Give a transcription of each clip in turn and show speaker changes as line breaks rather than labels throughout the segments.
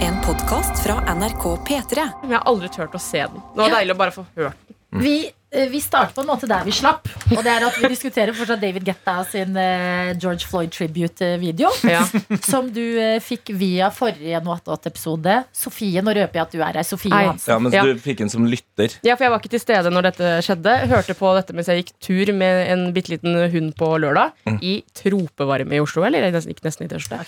podkast fra NRK P3.
Men jeg har aldri turt å se den. Det var deilig å bare få hørt den.
Vi, eh, vi starter på en måte der vi slapp. Og det er at vi diskuterer fortsatt David Guetta sin eh, George Floyd tribute-video.
Ja.
Som du eh, fikk via forrige Noatot-episode. Sofie, nå røper jeg at du er her. Sofie
Hei.
Hansen.
Ja, mens
Ja.
du fikk en som lytter.
ja, for jeg var ikke til stede når dette skjedde. Hørte på dette mens jeg gikk tur med en bitte liten hund på lørdag.
Mm.
I tropevarme i Oslo. Eller nesten, ikke nesten i tørste.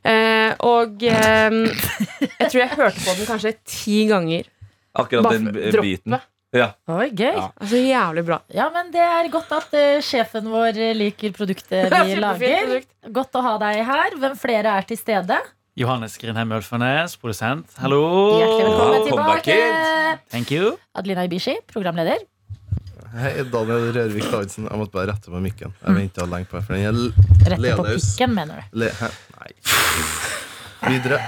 Eh, og eh, jeg tror jeg hørte på den kanskje ti ganger.
Akkurat
Bare
den eh,
droppe.
biten. Ja.
Oi, gøy. Ja.
Ja.
Altså Jævlig bra.
men det er godt at eh, sjefen vår eh, liker produktet vi
Kjempefint
lager.
produkt.
Godt å ha deg her. Hvem flere er til stede?
Johannes Grindheim Ulfarnes, produsent. Hallo!
Hjertelig
Wow,
velkommen
comeback
tilbake.
Thank you.
Adelina Ibishi, programleder.
Hei, Daniel Rørvik Davidsen. Jeg måtte bare rette på mikken.
Mm.
Jeg venta lenge på det, for den er l-
Rett på
Leonus.
pikken, mener du.
le... Hæ? Nei. Videre.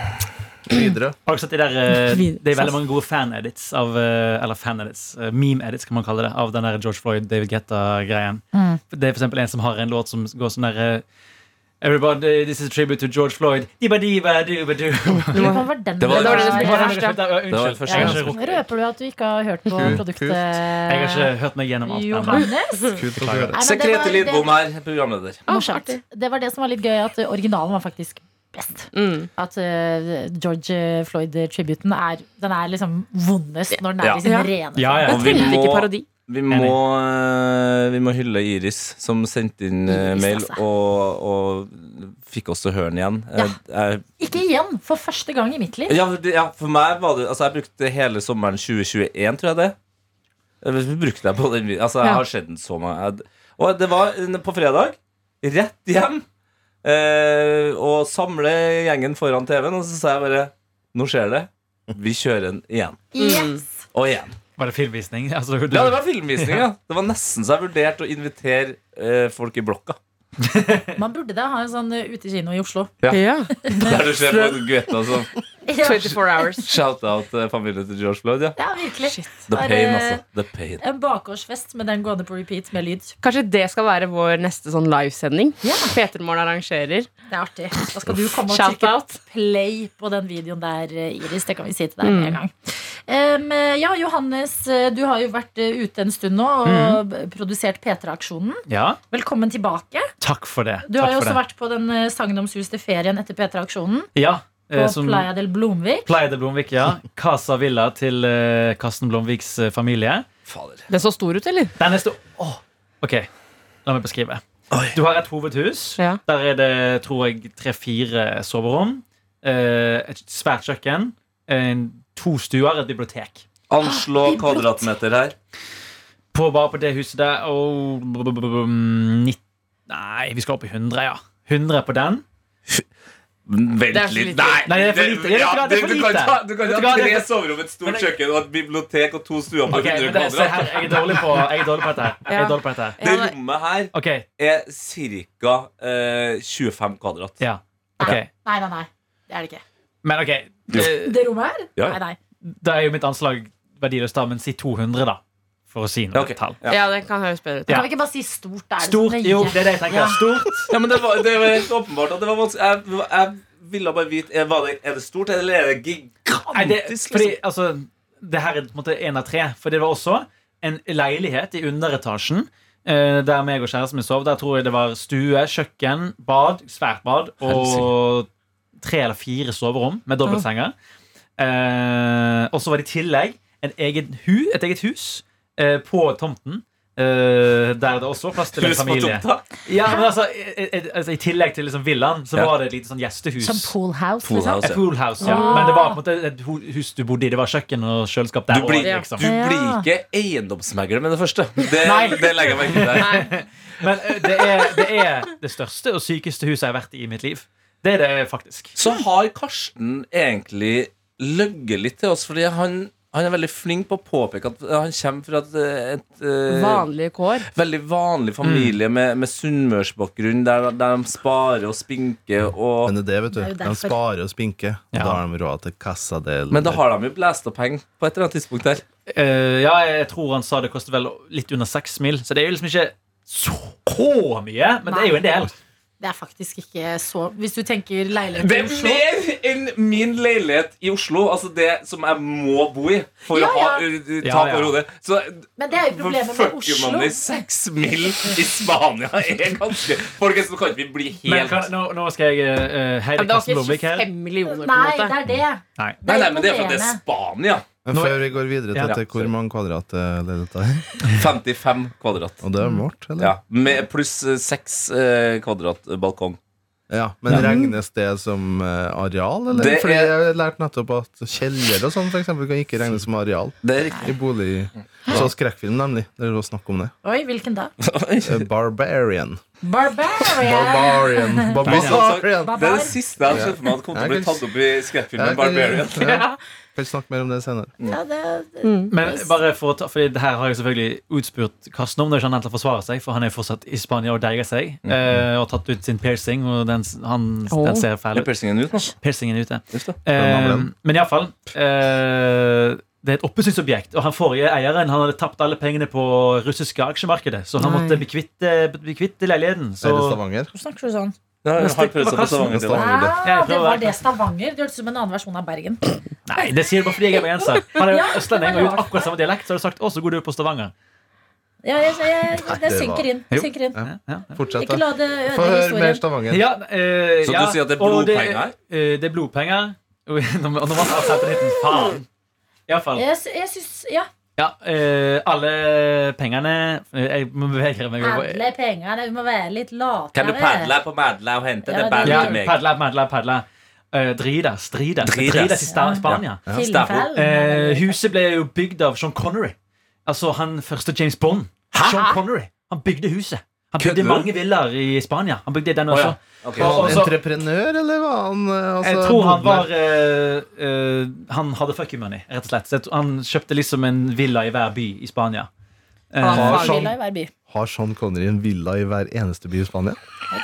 Videre.
Har dere sett de der, eh,
Videre.
det er veldig mange gode fan-edits av eh, Eller fan-edits, eh, meme-edits kan man kalle det, av den der George Floyd, David Guetta-greien.
Mm.
Det er for eksempel en som har en låt som går sånn der eh, Everybody, this is a tribute to George Floyd. Diba, diba, diba,
Lurer
diba.
på om det var den
Det
du
var- det
var-
var den
som var-
Unnskyld.
Det var det
Jeg
første.
har
Ja,
ikke
ja.
rukket-
Røper du at du ikke har hørt på
Kult,
produktet? eh,
kult.
jeg har ikke hørt meg gjennom alt ennå.
Johannes?
Kult å høre.
Nei, men det var-
Sekrete Lidbom her, programleder.
Ah,
Morsomt.
artig.
Det var det som var litt gøy, at eh, originalen var faktisk best.
Mm.
At eh, George Floyd-tributen er Den er liksom vondest når den er
Ja.
i sin
Ja.
rene
Ja, ja.
Og vi
Tenkte ikke
må,
parodi.
vi må, eh, vi må hylle Iris, som sendte inn eh,
Iris,
mail
altså.
og, og fikk oss til å høre den igjen. Eh, Jeg,
Ikke igjen! For første gang i mitt liv.
Ja, for- ja, for meg var det Altså, jeg brukte hele sommeren 2021, tror jeg det. Jeg brukte jeg på den videoen. Altså, jeg
Ja.
har sett den så mange jeg- Og det var en- på fredag. Rett hjem. Eh, og samle gjengen foran TV-en, og så sa jeg bare Nå skjer det. Vi kjører den igjen.
Yes.
Og igjen.
Var det filmvisning? Altså, du,
Ja, det var filmvisning, ja. Det var nesten så jeg vurderte å invitere eh, folk i blokka.
Man burde da ha en sånn eh, utekino i Oslo.
Ja.
Der du ser på Guetta som
Ja,
24 hours.
shout-out eh, familien til George Floyd, ja.
ja virkelig.
The
Bare-
pain, altså. The pain.
En bakgårdsfest med den gående på repeat med lyd.
Kanskje det skal være vår neste sånn livesending. Petermorgen arrangerer.
Det er artig. Da skal du komme og
Shout
trykke
out.
play på den videoen der, eh, Iris. Det kan vi si til deg med
Mm.
en gang. Em, ja, Johannes, eh, du har jo vært eh, ute en stund nå
Mm.
og b- produsert P3-aksjonen.
ja.
Velkommen tilbake.
Takk for det.
Du har
Takk
jo
for
også
det.
vært på den eh, sagnomsuste ferien etter P3-aksjonen
ja, eh,
på
som-
Playa del Blomvik.
Pleide Blomvik, ja. Casa Villa til eh, Karsten Blomviks eh, familie.
Fader.
Den så stor ut, eller?
Den er stor Åh, Ok, la meg beskrive.
Oi.
Du har et hovedhus.
Ja.
Der er det, tror jeg, tre-fire soverom. eh, Et svært kjøkken. en- To stuer, et bibliotek.
Ah,
Anslå kvadratmeter her.
På bare på det huset der og, Nei, vi skal opp i 100, ja. 100 på den.
Vent
Det er for
litt.
lite.
Nei,
Nei, det er for lite. Det er for- det er for
du, du kan
lite.
ta, du kan
Vet
ta
du hva, det er
tre
for-
soverom, et stort
Men jeg-
kjøkken og et bibliotek og to stuer på
Ok, men
100
det, se
kvadrat.
her, jeg er dårlig på, jeg er dårlig på dette. her Jeg
Ja.
er dårlig på dette her
Det
Ja, det-
rommet her
Ok,
er ca. 25 kvadrat.
ja. ok.
Nei, nei, nei. Det er det ikke.
Men ok, eh,
Det rommet her? Nei,
Ja,
nei.
da er jo mitt anslag verdiløst, da, men si 200, da. For å si noe
Ja, ok.
tall.
Ja.
Ja, det kan høres bedre ut.
Kan
Ja.
vi ikke bare si stort? Da Er det
Stort,
så nøye?
jo, det er det jeg tenker.
Ja.
Stort.
Ja, men det var, det var helt åpenbart at det var vanskelig. Jeg, jeg ville bare vite er, var det, er det stort, eller er det
Nei, det,
gigantisk?
fordi,
liksom?
altså, det her er på en måte en av tre. For det var også en leilighet i underetasjen. eh, Der meg og kjæresten min sov. Der tror jeg det var stue, kjøkken, bad, svært bad og tre eller fire soverom med dobbeltsenger. Eh, og så var det i tillegg en egen hu, et eget hus eh, på tomten. eh, der det også var plass til en
Hus på
familie.
tomta?
Ja, men altså, i- i- altså, I tillegg til liksom villaen, så
Ja.
var det et lite sånn gjestehus.
Som poolhouse, liksom?
Poolhouse.
Et poolhouse, ja.
Ah.
Men det var på en måte et ho- hus du bodde i. Det var kjøkken og kjøleskap der.
Du blir,
også,
Ja.
liksom.
du blir ikke eiendomsmegler med det første. Det,
Nei.
det legger jeg merke til.
Men eh, det er, det er det største og sykeste huset jeg har vært i i mitt liv. Det er det faktisk.
Så har Karsten egentlig løgget litt til oss, fordi han, han er veldig flink på å påpeke at han kommer fra et, et, eh,
Vanlige kår.
veldig
Mm.
vanlig familie med, med sunnmørsbakgrunn, der, der de sparer og spinker og
Men det er det, vet
Det er jo
du. De
derfor.
sparer og spinker. Og
Ja.
da har de råd til Casa del
Men da har de jo blæst opp penger på et eller annet tidspunkt der.
Eh, ja, jeg tror han sa det kostet vel litt under seks mil, så det er jo liksom ikke så mye, men det er jo en del.
Det er faktisk ikke så Hvis du tenker leilighet
Det
i
er
Oslo
mer enn min leilighet i Oslo, altså det som jeg må bo i for
Ja,
å ha
ja.
uh, uh,
Ja,
tak
ja.
over hodet Så eh,
Men det er jo
for
problemet med
fucker
Oslo.
man i seks mil i Spania er ganske Folkens, nå kan ikke vi bli
Men
helt
kan, nå, nå skal jeg eh,
Ja,
heide
men Det var ikke
Karsten Blomvik her.
25 millioner, på
Nei,
en
det
måte.
er det.
Nei.
Nei, nei, men det er for at det er
imponerende.
Spania.
Men
Nå-
før vi går videre,
Ja.
Tete, hvor mange kvadrat er det dette her?
55 kvadrat.
Og det er vårt, eller?
Ja, med Pluss eh, seks eh, kvadrat eh, balkong.
Ja, Men regnes det som eh, areal, eller?
Det
Fordi
er-
jeg lærte nettopp at kjeller og sånn for eksempel, kan ikke regnes som areal.
Det er riktig.
I bolig Så skrekkfilm, nemlig. Det var snakk om det.
Oi, hvilken da?
Eh, Barbarian.
Barbarian.
Barbarian.
altså,
Barbarian.
Det er det siste jeg ser for meg at kommer til å bli tatt
Jeg kan-
opp i skrekkfilmen
Jeg
Barbarian.
kan, ja. Kan snakke mer om det senere.
Ja, det,
Men bare for å ta, fordi det her har jeg selvfølgelig utspurt Karsten om. Det er ikke han helt å forsvare seg, for han er fortsatt i Spania og deiger seg.
Mm.
eh, og har tatt ut sin piercing, og den, s- han,
Åh.
den ser fæl
Er
ut.
piercingen ut nå?
Piercingen er ute.
Just det.
Eh,
Den
men iallfall uh, Det er et oppussingsobjekt. Og han forrige eieren han hadde tapt alle pengene på russiske aksjemarkedet, så han
Nei.
måtte eh, bekvitte, bekvitte leiligheten. Så
Så... Er det Stavanger?
Hvorfor snakker du sånn?
Ja, jeg har prøvd seg på Stavanger til deg.
Stavanger.
Ah, det var det Stavanger. Det hørtes ut som en annen versjon av Bergen.
Nei, det sier du bare fordi jeg er bergenser. Han er jo
Ja,
østlending
det
og
var
gjort
rart.
akkurat samme dialekt, så har du sagt 'Å, så god du er på Stavanger'.
Ja, jeg, jeg, det
det var-
synker inn.
Jo.
Synker inn.
Ja, ja.
Fortsett,
Ikke la
da.
det
Få
ødelegge
høre mer
historien.
Stavanger.
Ja, eh,
Så du
ja.
sier at det er
og
blodpenger?
eh, det er blodpenger. Og Nå nå må man ha tatt litt faen. Iallfall.
Jeg, sy- jeg syns Ja.
Ja, eh, alle pengene eh, Jeg må bevege meg over.
Alle pengene. Vi må være litt latere.
Kan du padle på Madla og hente
Ja,
det
det-
Ja,
bandet til meg?
padla, padla, padla. Eh, Dridas. Dridas.
Dridas.
Dridas i Sta- Spania.
Filmfell.
Eh, huset ble jo bygd av Sean Connery. Altså han første James Bond. Sean Connery. Han bygde huset. Han bygde
Kødder du?
mange villaer i Spania. Han bygde den også.
Å, ja. Ok.
Og-
Var
og
han
så-
entreprenør, eller var han eh, altså,
altså- Jeg tror han
bonde?
var eh, eh, Han hadde fuck you money, rett og slett. Så jeg tror han kjøpte liksom en villa i hver by i Spania. Eh,
Har
Fagvilla
Sean-
i hver by.
Har Sean Connery en villa i hver eneste by i Spania?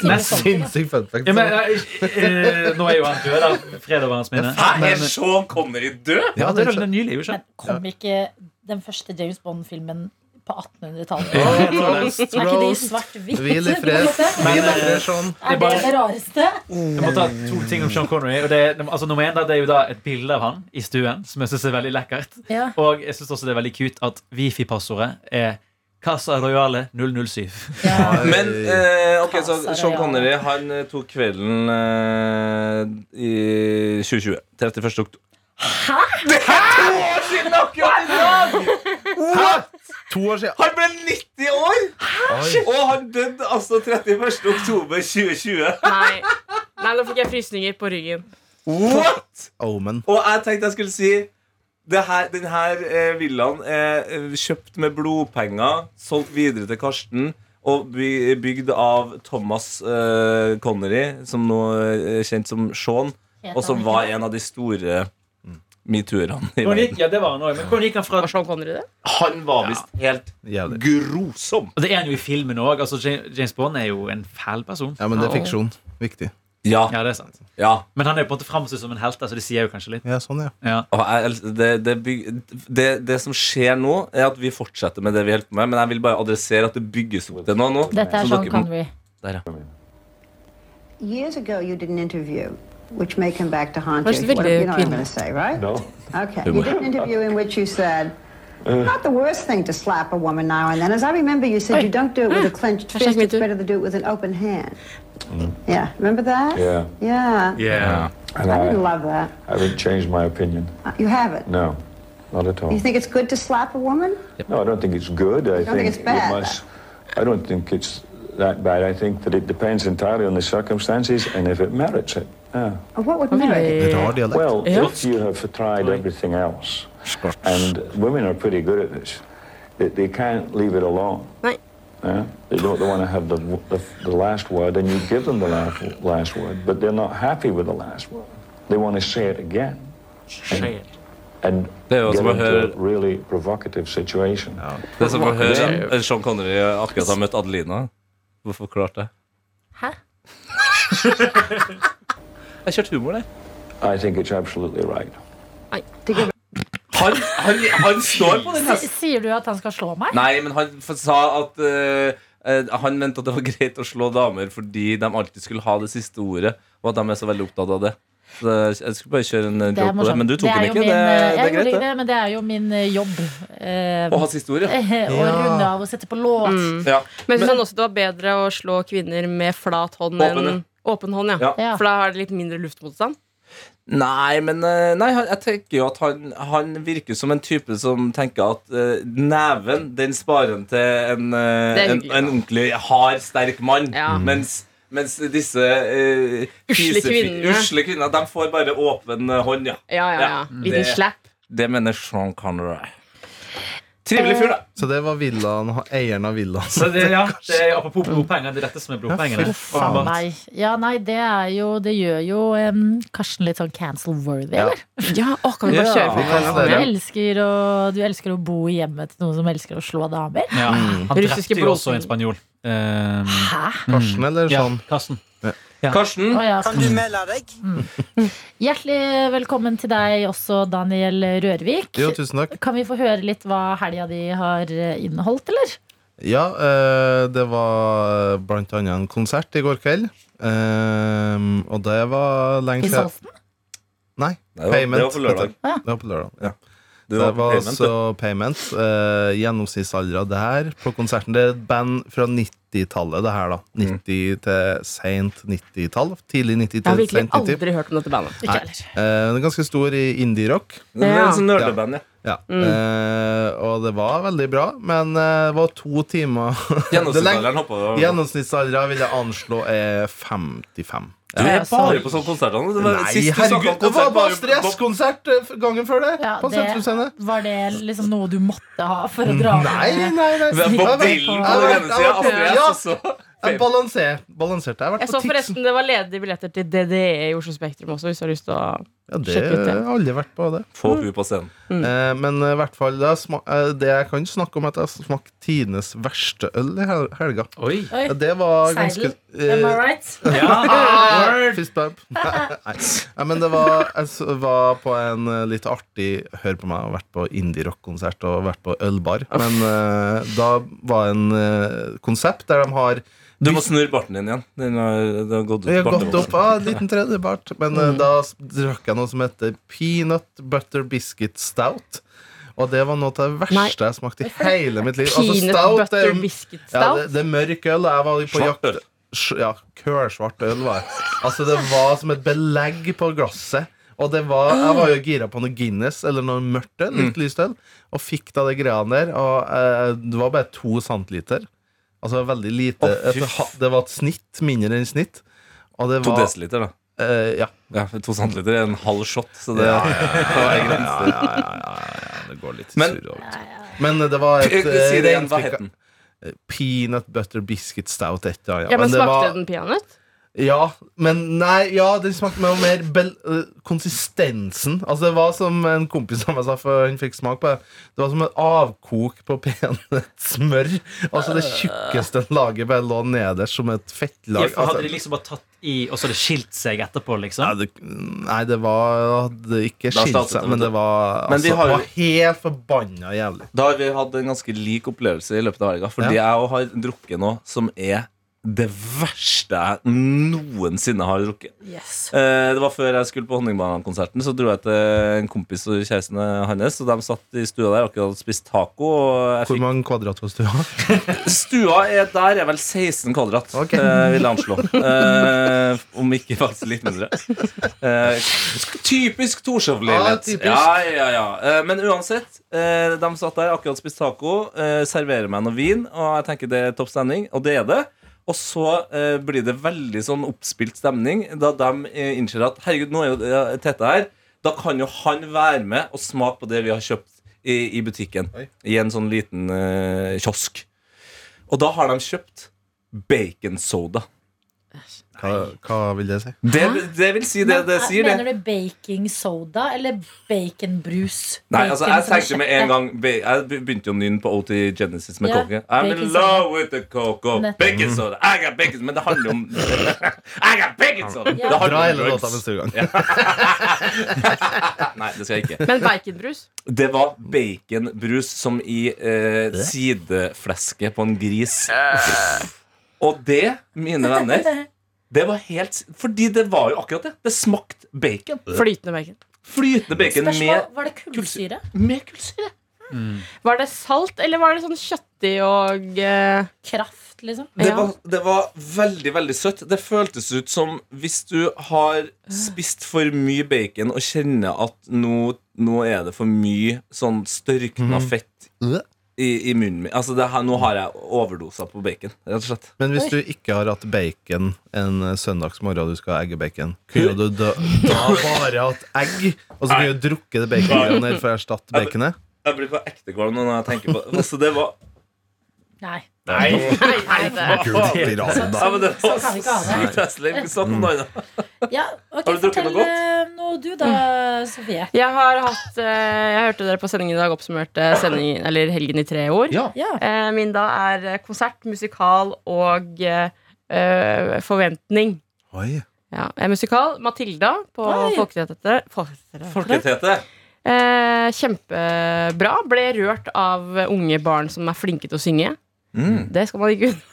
Nei,
Sinnssykt fun fact.
ja, men, eh, eh, nå er jo han død, da. Fred over hans minne.
Hæ,
Men-
er Sean Connery død?
Ja,
Ja,
det er
det er
den nylig, jo ikke?
Men kom ikke den første James Bond-filmen på 1800-tallet?
Ja, jeg tror det.
Er ikke det i svart-hvitt?
Hvil i fred.
Men,
Hvil i fred, Sean.
Er det det rareste?
Jeg må ta to ting om Sean Connery. Og det, er- altså, nummer en, da, det er jo da et bilde av han i stuen, som jeg syns er veldig lekkert.
Ja.
Og jeg syns også det er veldig cute at wifi-passordet er Casa Royale 007.
Ja.
Men eh, ok, så
Passer det,
Sean
ja.
Connery han eh, tok kvelden eh, i 2020. 31. oktober.
To år siden.
Han ble 90 år!
Ah,
Og han døde altså 31. oktober 2020.
Nei. Nei, nå fikk jeg frysninger på ryggen.
What?!
Omen.
Og jeg tenkte jeg skulle si det her, den her eh, villaen er eh, kjøpt med blodpenger, solgt videre til Karsten og by- bygd av Thomas eh, Connery, som nå er kjent som Sean,
Helt
og som
annerledes.
var en av de store mm, metoo-erne i
Hvordan
verden.
gikk, ja, det var han også, men hvordan gikk han fra
Var Sean Connery det?
Han var visst helt
Jævlig.
grosom.
Og det er han jo i filmen òg. Altså, Ja- James Bond er jo en fæl person.
Ja, men det er fiksjon. Viktig.
Ja,
Ja, det er sant.
ja.
Men han er jo på en måte framstilt som en helt, så det sier jo kanskje litt.
Ja, sånn, ja.
Ja.
Og jeg, els- det, det, byg, det, det som skjer nå, er at vi fortsetter med det vi holder på med. Men jeg vil bare adressere at det bygges opp til noe nå.
Dette er sånn
Så
Sean
dere-
Connery.
Der, ja.
Years ago, you did an interview which may come back to haunt
That's
you. You know what
really
I'm
appealing.
going to say, right?
No.
Okay. You did an interview in which you said,
Uh.
not the worst thing to slap a woman now and then. As I remember, you said you don't do it with a clenched
Hashtag
fist.
me
It's
too.
better to do it with an open hand.
Mm.
Yeah. Remember that?
Yeah.
Yeah.
Yeah.
And
I didn't
I,
love that. Uh,
I haven't changed my opinion.
You haven't.
No, not at all.
You think it's good to slap a woman?
no, I don't think it's good. I
don't think it's bad?
It must, I don't think it's that bad. I think that it depends entirely on the circumstances and if it merits it. Yeah.
Or what would merit it?
Rar dialekt.
Well,
Yeah.
if you have tried everything else, and women are pretty good at this, they, they can't leave it alone.
Right.
Yeah? They don't want to have the, the, the last word, and you give them the last, last word, but they're not happy with the last word. They want to say it again. And
Det er jo
get
som å
into a
høre-
really provocative situation.
Det er som å høre Sean Connery akkurat har møtt Adelina. Hvorfor klarte jeg?
Hæ?
Jeg kjørte humor der.
I think it's absolutely right.
Han, han, han står på den
S
hesten.
sier du at han skal slå meg?
Nei, men han f- sa at eh, eh, han mente at det var greit å slå damer fordi de alltid skulle ha det siste ordet, og at de er så veldig opptatt av det. Så jeg skulle bare kjøre en eh,
Det
joke
er
på det,
morsomt.
men du tok
er jo
den ikke.
min,
det,
eh,
det
jeg
er
gjorde
greit,
ikke
det.
det, men det er jo min eh, jobb. eh,
Å ha siste ord, ja. Mm.
Å runde av og sette på låt.
ja.
Men jeg synes han også det var bedre å slå kvinner med flat hånd
Åpen,
enn åpen hånd, ja.
Ja.
Ja.
For da har det litt mindre luftmotstand.
Nei, men eh, nei, han- jeg tenker jo at han, han virker som en type som tenker at eh, neven, den sparer han til en, eh,
Det er
en,
hyggelig,
en ordentlig hard, sterk mann.
Ja.
Mm.
Mens, mens disse eh,
Usle
fisefi-
kvinnene.
usle kvinnene, de får bare åpen eh, hånd, ja.
Ja, ja, ja.
Ja,
Liten
det-
slapp.
Det mener Sean Connery. Trivelig fyr, da.
Så det var villaen, eieren av villaen.
Så det, ja, det er apropos blodpenger. Det er dette som er blodpengene.
Faen
Åpenbart.
meg. Ja, nei, det er jo Det gjør jo em, Karsten litt sånn cancel-worthy, eller?
Ja, å, kan vi bare
Ja.
kjøre
Vi kan
forbi?
Ja.
Du, elsker å, du elsker å bo i hjemmet til noen som elsker å slå damer?
Ja. Han
Russiske
drepte jo også
blodpenger.
en spanjol. Um,
Hæ?
Karsten eller
ja,
sånn?
Karsten.
Karsten.
Mm. Å, ja. Mm.
Kan du melde deg?
Hjertelig velkommen til deg også, Daniel Rørvik.
Jo, tusen takk.
Kan vi få høre litt hva helga di har eh, inneholdt, eller?
Ja, eh, det var blant annet en konsert i går kveld. Eh, og det var lenge
I
siden.
Salten?
Nei,
Nei, det var-
Payment.
det var på lørdag.
heter det. Det var på lørdag. Ja.
Du var
det var
payment,
altså Payment. Uh, Gjennomsnittsalder der på konserten. Det er et band fra 90-tallet, det
Mm.
her, da. 90 til seint 90-tall. Tidlig 90
Jeg har
til
virkelig
sent 90.
aldri hørt om dette bandet.
Ikke heller.
Eh, det er ganske stor i indie-rock.
Det er
Ja.
en sånn nerdeband, ja.
Ja.
Mm.
Eh, og det var veldig bra, men eh, det var to timer Det er lenge-
Gjennomsnittsalderen hoppa over.
Gjennomsnittsalderen vil jeg anslå er 55.
Du er bare på sånne konserter. altså. Det var,
Nei,
sist du snakket
herregud,
om
det var
konsert,
bare
var jo-
stresskonsert eh, gangen før det.
Ja,
på
det-
Sentrumsscene.
Var det liksom noe du måtte ha for å dra
Nei, nei, nei.
Det er Bob Dylan på den ene sida, Andreas
Ja.
også.
Jeg balanserte. balanserte. Jeg har
Jeg
vært
så
på Tix.
forresten det var ledige billetter til DDE i Oslo Spektrum også, hvis du har lyst til å
Ja, det
Sjekk ut det. Mm.
jeg har aldri vært på det.
Få hun på scenen.
Eh, men i hvert fall, det, sma eh, det jeg kan snakke om, er at jeg smakte tidenes verste øl i hel helga.
Oi.
Oi,
Det var ganske
Seidel. Am I
eh,
right?
Ja.
Ah! Fist bump. Nei. Nei, men det var Jeg s- var på en eh, litt artig Hør på meg, og vært på indie-rock-konsert og vært på ølbar. Men eh, da var en eh, konsept der de har
Du må snurre barten din igjen. Den har, den har gått ut.
Jeg har gått
barten.
opp av en liten tredjepart. Men eh, da s- drakk jeg noe som heter peanut butter biscuit stout. Og det var noe av det verste
Nei.
jeg smakte i hele mitt liv. Altså,
Peanut
stout er
butter
jo-
biscuit
Ja, det,
stout.
det er mørk øl. og Jeg var på
Svart
jakt
øl.
sj- Ja, kølsvart øl var jeg. Altså, det var som et belegg på glasset. Og det var, jeg var jo gira på noe Guinness eller noe mørkt øl,
Mm.
litt lyst øl, og fikk da det greia der. Og eh, det var bare to centiliter. Altså veldig lite.
Å, fy
et, ha- det var et snitt, mindre enn snitt. Og det
To
var
desiliter, da.
eh, Ja.
Ja, to centiliter er en halv shot. Så det,
Ja, ja, ja, ja, ja, det går litt
Men-
surr over. Men det var et eh,
liksom. Si det igjen. Hva
reinspikka-
het den?
Peanut butter biscuit stout. Et, ja, ja.
Ja, men
det var-
smakte den peanøtt?
Ja, men nei, ja, den smakte meg mer bel øh, konsistensen. Altså, det var som en kompis av meg sa, for han fikk smak på det. Det var som et avkok på peanøttsmør. Altså, det tjukkeste laget bare lå nederst som et fettlag.
for Hadde de
Altså,
liksom bare tatt i, og så hadde det skilt seg etterpå,
ja,
liksom?
det, nei, det var det hadde ikke
Da
skilt
startet
seg,
det,
men
vet
det var,
Men vi
altså,
har jo-
det var helt forbanna jævlig.
Da har vi hatt en ganske lik opplevelse i løpet av helga. Fordi jeg har drukket noe som er det verste jeg noensinne har drukket.
Yes.
Eh, Det var før jeg skulle på Honningbanekonserten. Så dro jeg til en kompis og kjæresten hans, og de satt i stua der og akkurat hadde spist taco. Og jeg
Hvor
fikk
mange kvadrat var det du har?
Stua er, der er vel 16 kvadrat,
Ok.
eh, vil jeg anslå. Eh, om ikke faktisk litt mindre. Eh, typisk
Ah,
Torshov-leilighet.
typisk.
ja, ja, ja. Eh, men uansett, eh, de satt der, akkurat spist taco, eh, serverer meg noe vin, og jeg tenker det er topp stemning, og det er det. Og så eh, blir det veldig sånn oppspilt stemning da de eh, innser at herregud, nå er jo eh, Tete her. Da kan jo han være med og smake på det vi har kjøpt i, i butikken.
Oi.
I en sånn liten eh, kiosk. Og da har de kjøpt bacon soda.
Hva, hva vil det si?
Det, det vil si det det
Men, eh,
sier, det.
Mener du baking soda eller baconbrus?
Nei, altså Jeg
Bacon som er
tenkte med en gang be- Jeg be- begynte jo å nynne på OT Genesis med
Ja,
coke. I'm
bacon
in
soda.
love with the coco.
Nettopp.
Bacon
Mm.
soda. I got bacon Men det handler jo om I got bacon soda!
Ja.
Det handler
Dra
om
hele
drugs.
låta neste gang.
Nei, det skal jeg ikke.
Men baconbrus?
Det var baconbrus som i eh, sideflesket på en gris. Og det, mine venner, Det var helt Fordi det var jo akkurat det. Det smakte bacon.
Flytende bacon.
Flytende bacon
Spørsmål,
med,
var det kullsyre?
med kullsyre.
Var det salt, eller var det sånn kjøttig og eh,
Kraft, liksom?
Det,
Ja.
var, det var veldig, veldig søtt. Det føltes ut som hvis du har spist for mye bacon og kjenner at nå, nå er det for mye sånn størkna fett i, i munnen min. Altså, det her, nå har jeg overdosa på bacon, rett og slett.
Men hvis du ikke har hatt bacon en eh, søndagsmorgen og du skal ha eggebacon, kunne du da, da bare hatt egg, og så kunne du drukket det baconet for å erstatte baconet?
Jeg blir på ekte kvalm når jeg tenker på det. Altså, det var,
Nei.
Spiralen, da.
ja, men det var
Sånn kan vi ikke ha det.
sykt heslig. Sånn, om dagen.
Ja, ok,
Har du drukket
fortell
noe godt?
eh, noe du da, Sofie.
Jeg har hatt eh, Jeg hørte dere på sendingen i dag oppsummerte sendingen, eller helgen i tre ord.
Ja.
Ja.
Eh, min da er eh, konsert, musikal og eh, eh, forventning.
Oi.
Ja, eh, musikal. Matilda på
Oi.
Folketeatret. Folketeatret.
Folketete.
Eh, kjempebra. Ble rørt av unge barn som er flinke til å synge.
Mm.
Det skal man ikke undervurdere.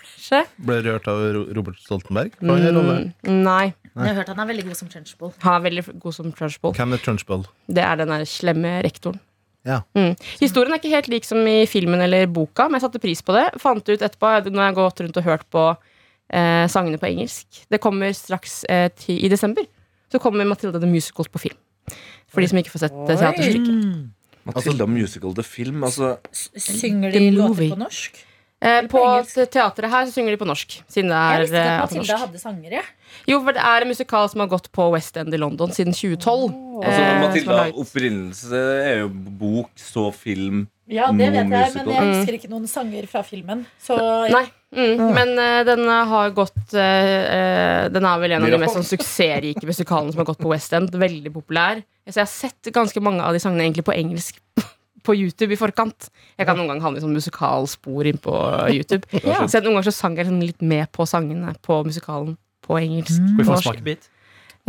Ble rørt av Ro- Robert Stoltenberg? Hva er rollen?
Mm, nei.
Jeg har hørt han er veldig god som trunchbull.
Han er veldig god som trunchbull.
Hvem er Trunchbull?
Det er den der slemme rektoren.
Ja.
Mm. Historien er ikke helt lik som i filmen eller boka, men jeg satte pris på det. Fant ut etterpå, når jeg har gått rundt og hørt på eh, sangene på engelsk Det kommer straks eh, ti, i desember. Så kommer Matilda the Musical på film. For de som ikke får sett eh, teaterstykket.
Mm.
Matilda musical til film. Altså,
Synger
The
de
movie.
låter på norsk?
Eh,
Eller på
på
engelsk.
te- teatret her så synger de på norsk. Siden det
Jeg
er,
visste ikke
eh,
at
på
Matilda
norsk.
hadde sanger, jeg.
Jo, for det er en musikal som har gått på West End i London siden 2012.
altså
eh, som
Matilda
er laget-
opprinnelse er jo bok, så film.
Ja, det
Noen
vet jeg, men
musical.
jeg husker ikke noen sanger fra filmen. Så
Mm. Nei. Mm, Men eh, den har gått eh, eh, Den er vel en av de mest sånn, suksessrike musikalene som har gått på West End. Veldig populær. Så jeg har sett ganske mange av de sangene egentlig på engelsk på YouTube i forkant. Jeg kan noen ganger havne i sånn musikalspor inn på YouTube. Så jeg, noen ganger så sang jeg sånn litt med på sangene på musikalen på engelsk.
Mm.
Skal
på
vi få en
norsk.
smakebit?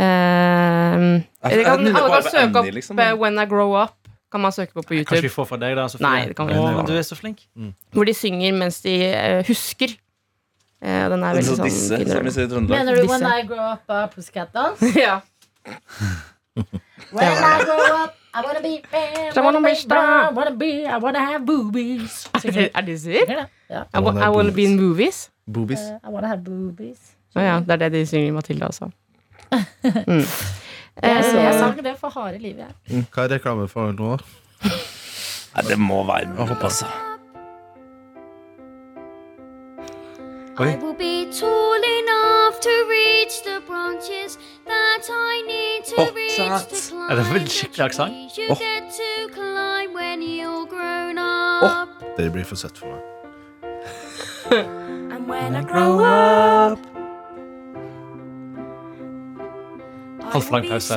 Eh,
Jeg- jeg
det kan,
nynner
alle
bare
kan
på
søke
Annie,
opp
liksom,
eh,
men-
When I Grow Up. Kan man søke på på YouTube.
Kanskje vi får fra deg, da? Sofie?
Nei, det kan vi
Å,
ikke.
men du er så flink.
Hvor de synger mens de eh, husker. Eh, den er veldig
Altså
sånn
disse, som vi
fin.
sier i Trøndelag.
Mener du When
Disse.
I Grow Up av Pussycat Dolls?
ja.
When I grow up, I wanna be man,
I wanna be
brown,
star.
wanna be, I wanna have boobies.
Er
Synger
det- er det sier?
det, ja.
I, wa- I wanna be in movies.
Boobies?
I wanna have boobies.
Å ja, det er det de synger i Matilda også. Mm.
Jeg, så, jeg
Eh,
sang det for harde livet, jeg.
Hva er reklame for nå?
Nei, det må være mulig, altså.
I will be tall enough to reach the branches that I need to
Oh,
reach
sant.
to climb
Ja, det var vel
the
skikkelig aksent.
trees you
Oh.
get to climb when you're grown up.
Det blir for søtt for meg.
And when I grow up,
Halvlang pause.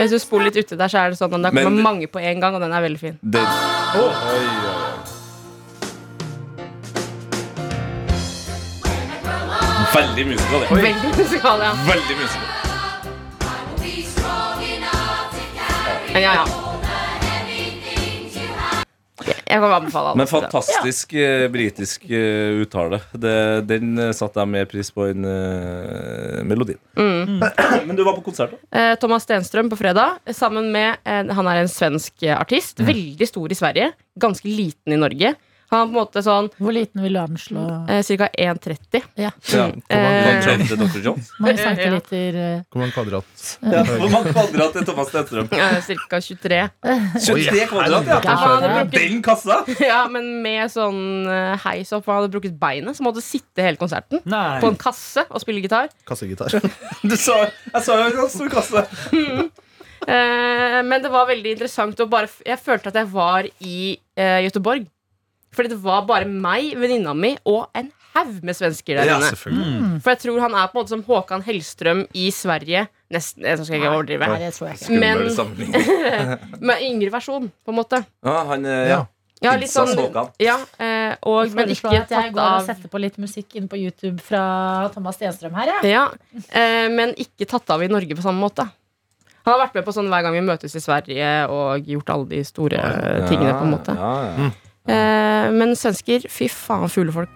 Hvis du spoler litt uti der, så er det sånn at det kommer
Men-
mange på en gang, og den er veldig fin.
Det, Veldig musical, det.
Veldig musikal, ja.
Veldig musical.
Men ja, ja. Jeg kan anbefale alle.
Men
til det.
fantastisk eh, britisk eh, uttale. Det, den eh, satte jeg mer pris på enn eh, melodien.
Mm.
Men du var på konsert, da?
Eh, Thomas Stenström på fredag, eh, sammen med en, Han er en svensk eh,
Mm.
artist. Veldig stor i Sverige, ganske liten i Norge. Han er på en måte sånn
Hvor liten vil du anslå?
eh, ca. 1,30.
Ja.
Eh,
Dr. Jones?
Mange
centimeter,
Hvor mange kvadrat?
Ja. Hvor mange kvadrat er Thomas Stenstrøm?
Ca. 23.
23 kvadrat, ja!
Ja, Eh, han hadde
skjønner
brukket,
Den kassa!
ja, men med sånn eh, heis opp. Han hadde brukket beinet, så måtte sitte hele konserten.
Nei.
På en kasse og spille gitar.
Kassegitar.
Du sa, jeg sa jo en ganske stor kasse.
Eh, men det var veldig interessant. Og bare, f- jeg følte at jeg var i eh, Göteborg. Fordi det var bare meg, venninna mi og en haug med svensker der
Ja,
inne.
selvfølgelig.
For jeg tror han er på en måte som Håkan Hellstrøm i Sverige. Nesten, jeg skal ikke overdrive.
Nei, det tror jeg ikke.
Skummel
Men-
sammenligning.
Med yngre versjon, på en måte.
Ja, han, eh, ja.
Ja.
Ja, litt
Innsats
sånn,
Håkan.
ja, eh, og, men
Foreslå
ikke
at jeg
tatt
går og
av
setter på litt musikk inne på YouTube fra Thomas Stenstrøm her, jeg.
Ja, eh, men ikke tatt av i Norge på samme måte. Han har vært med på sånn hver gang vi møtes i Sverige og gjort alle de store eh, tingene. på en måte
Mm. Ja, ja.
eh, Men svensker, fy faen, fuglefolk.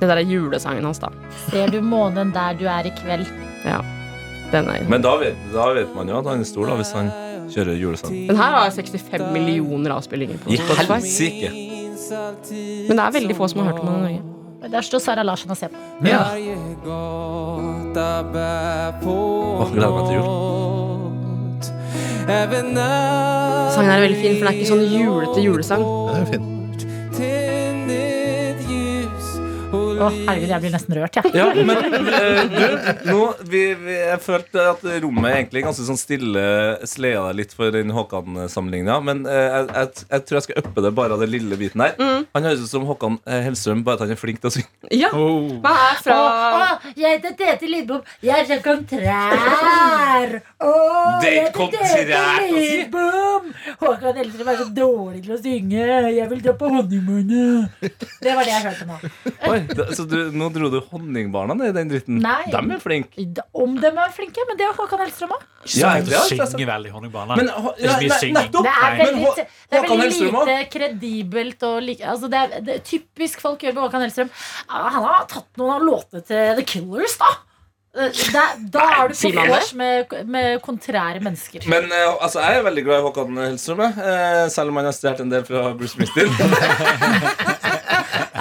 Det der er julesangen hans, da.
Ser du månen der du er i kveld?
Ja. Den, er,
Men da vet, da vet man jo at han er stor, da, hvis han kjører julesang.
den her har 65 millioner avspillinger på
I
Spotify.
helsike!
Men det er veldig få som har hørt om han i Norge.
Der står Sara Larsen og ser på.
Åh,
Ja.
Gleder meg til jul.
Sangen her er veldig fin, for den er ikke sånn julete julesang.
Det er jo fint.
Å, herregud, jeg blir nesten rørt, jeg.
Ja, men eh, du, nå vi, vi, Jeg følte at rommet er egentlig ganske sånn stille sleda deg litt for den Håkan-sammenligninga, men eh, jeg, jeg, jeg tror jeg skal uppe det bare av den lille biten her.
Mm.
Han høres ut som Håkan eh, Hellstrøm, bare at han er flink til å synge.
Ja,
Oh.
Man er fra
jeg heter Tete Lidbom. Jeg er så kontrær. Åh,
Det er jeg heter kontrær, Tete altså.
Lidbom. Håkan Elstrøm er så dårlig til å synge. Jeg vil dra på honeymoon. Det var det jeg hørte nå.
Oi, da, så du, nå dro du Honningbarna ned i den dritten?
Nei.
De er flinke.
Om de er flinke, men det er Håkan Elstrøm òg.
Ja,
Du
det er-
synger veldig Honningbarna.
Men, Hå- ja,
Ikke mye
nei,
synging.
nettopp!
Det er
Nei.
Men
veldig,
Hå-
det er
Håkan
veldig
Hellstrøm
lite
også?
kredibelt og like, altså det er, det, er Typisk folk gjør med Håkan Hellstrøm. Ah, Han har tatt noen av låtene til The Killers, da. Eh, det- da er du på
sier man det?
vors med, med kontrære mennesker.
Men eh, altså, jeg er veldig glad i Håkan Hellstrøm, jeg. Eh, selv om han har stjålet en del fra Bruce Springsteen.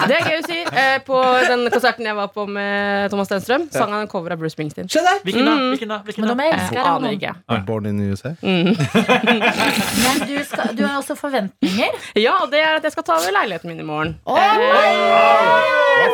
Det er gøy å si. Eh, på den konserten jeg var på med Thomas Stenstrøm, sang han en cover av Bruce Springsteen.
Se der!
Hvilken
Mm.
da? Hvilken da? Hvilken
Men
da?
de
Eh,
elsker
aner
ham.
ikke.
Born in the USA.
Men du, skal, du har også forventninger.
Ja, og det er at jeg skal ta over leiligheten min i morgen.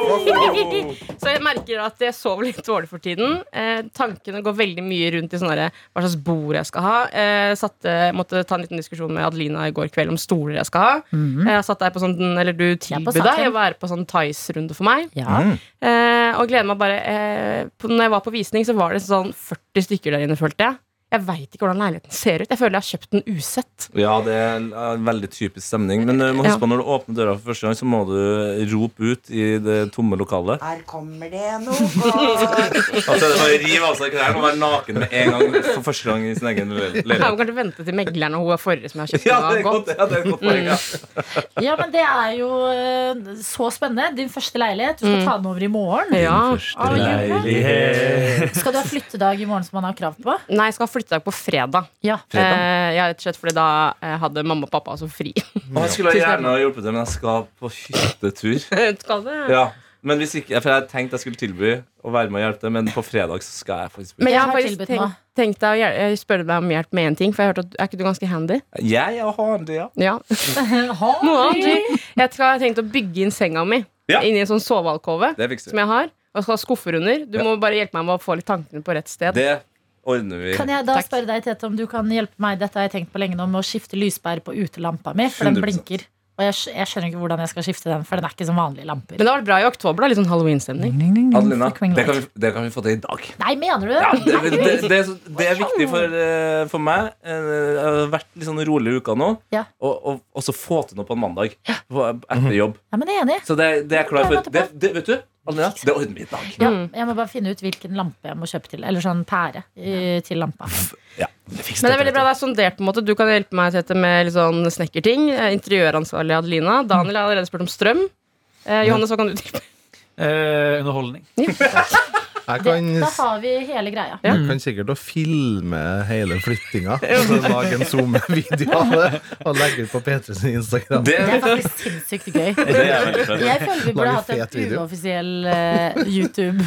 Så jeg merker at jeg sover litt dårlig for tiden. Eh, tankene går veldig mye rundt i sånne der, hva slags bord jeg skal ha. Eh, satte, måtte ta en liten diskusjon med Adelina i går kveld om stoler jeg skal ha. Eh, jeg satt deg på sånn, eller Du tilbød deg
saken.
å være på sånn Tice-runde for meg.
Ja.
Eh, og gleder meg bare eh, på, Når jeg var på visning, så var det sånn 40 stykker der inne, følte jeg. Jeg veit ikke hvordan leiligheten ser ut. Jeg føler jeg har kjøpt den usett.
Ja, det er en eh, veldig typisk stemning. Men eh, du må
Ja.
huske på når du åpner døra for første gang, så må du rope ut i det tomme lokalet.
Her kommer det noe godt.
Altså, det er bare å rive av seg klærne og være naken med en gang for første gang i sin egen le-
Jeg må
leilighet.
kanskje vente til megleren og hun er forrige som jeg har kjøpt den
Ja,
av,
det er
har
godt,
gått.
ja, det er et godt poeng. Ja.
ja, men det er jo eh, så spennende. Din første leilighet. Du skal ta den over i morgen.
Mm. Ja.
Ah, jul.
Leilighet.
Skal du ha flyttedag i morgen som man har krav på?
Nei, jeg skal ha flyttedag på fredag.
Ja.
Eh, ja, rett og slett fordi da eh, hadde mamma og pappa altså fri.
Og jeg skulle gjerne ha hjulpet til, men jeg skal på hyttetur.
skal det?
Ja. Men hvis ikke, for jeg tenkte jeg skulle tilby å være med og hjelpe til, men på fredag så skal jeg faktisk
Men jeg har
Jeg har
faktisk
tilbudt meg.
tenkt, tenkt deg å hjel- eh, spørre deg om hjelp med én ting, for jeg har hørt at er ikke du ganske handy?
Jeg og Hardy, ja.
Ja. Noe annet. du. Jeg skal- jeg har tenkt å bygge inn senga mi
Ja.
inni en sånn sovealkove
Det fikser
som
vi.
jeg har. Og skal ha skuffer under. Du
Ja.
må bare hjelpe meg med å få litt tankene på rett sted.
Det ordner vi.
Kan jeg da
Takk.
spørre deg, Tete, om du kan hjelpe meg Dette har jeg tenkt på lenge nå med å skifte lyspære på utelampa mi, for den
100%.
blinker. Og jeg, skj- jeg skjønner ikke hvordan jeg skal skifte den, for den er ikke som vanlige
Men
lamper.
det har vært bra i oktober. da, Litt sånn halloween-stemning.
Adelina,
Fuck wing
det kan,
light.
vi, det kan vi få til i dag.
Nei, mener du det?
Det, det, det, er så- det er viktig for, eh, for meg. Eh, Jeg har vært litt sånn rolig i uka nå.
Ja.
Og, og, og så få til noe på en mandag på- etter jobb.
Ja, men jeg er enig.
Så det, det er jeg klar for.
Det er
Det,
godt
det, vet du, Adelina, det ordner vi i dag.
Ja,
Mm.
jeg må bare finne ut hvilken lampe jeg må kjøpe til. Eller sånn pære eh, til lampa.
Men det er veldig bra det er sondert. på en måte Du kan hjelpe meg Tete, med litt sånn snekkerting. Eh, Interiøransvarlig Adelina.
Mm.
Daniel har allerede spurt om strøm. Eh, Johannes, hva kan du tilby?
Eh, underholdning.
Jeg
Det,
kan,
da har vi hele greia.
Ja.
jeg kan sikkert å filme hele flyttinga. Altså, lage en Zoom-video av det og legge ut på P3 sin Instagram.
Det,
Det er faktisk sinnssykt gøy.
det er veldig bra.
Jeg føler vi burde
Lager
hatt
fet
en
video.
uoffisiell eh, YouTube.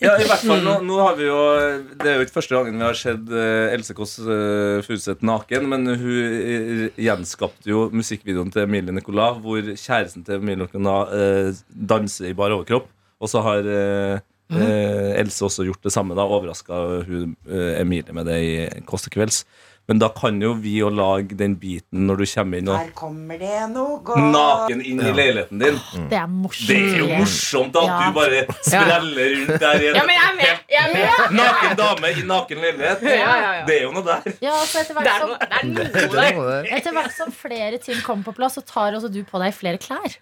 Ja, i hvert fall, nå, nå har vi jo Det er jo ikke første gangen vi har sett eh, Else Kåss eh, Furuseth naken, men hun eh, gjenskapte jo musikkvideoen til Emilie Nicolas, hvor kjæresten til Emilie Nicolas eh, danser i bar overkropp. Og så har eh, eh, Else også gjort det samme. Da overraska hun eh, Emilie med det i Kåss til kvelds. Men da kan jo vi jo lage den biten når du kommer inn og
Her kommer det noe godt.
naken inn i leiligheten din.
Det er morsomt.
Mm. Det er jo morsomt at
Mm. Ja.
du bare spreller rundt der i en
Ja, men jeg er med! Jeg er med.
Naken dame i naken leilighet.
Ja, ja, ja.
Det er jo noe der.
Ja, altså etter
Det
hvert
er
som
noe, det er noe
Det er
der.
noe der.
etter hvert som flere ting kommer på plass, så tar også du på deg flere klær.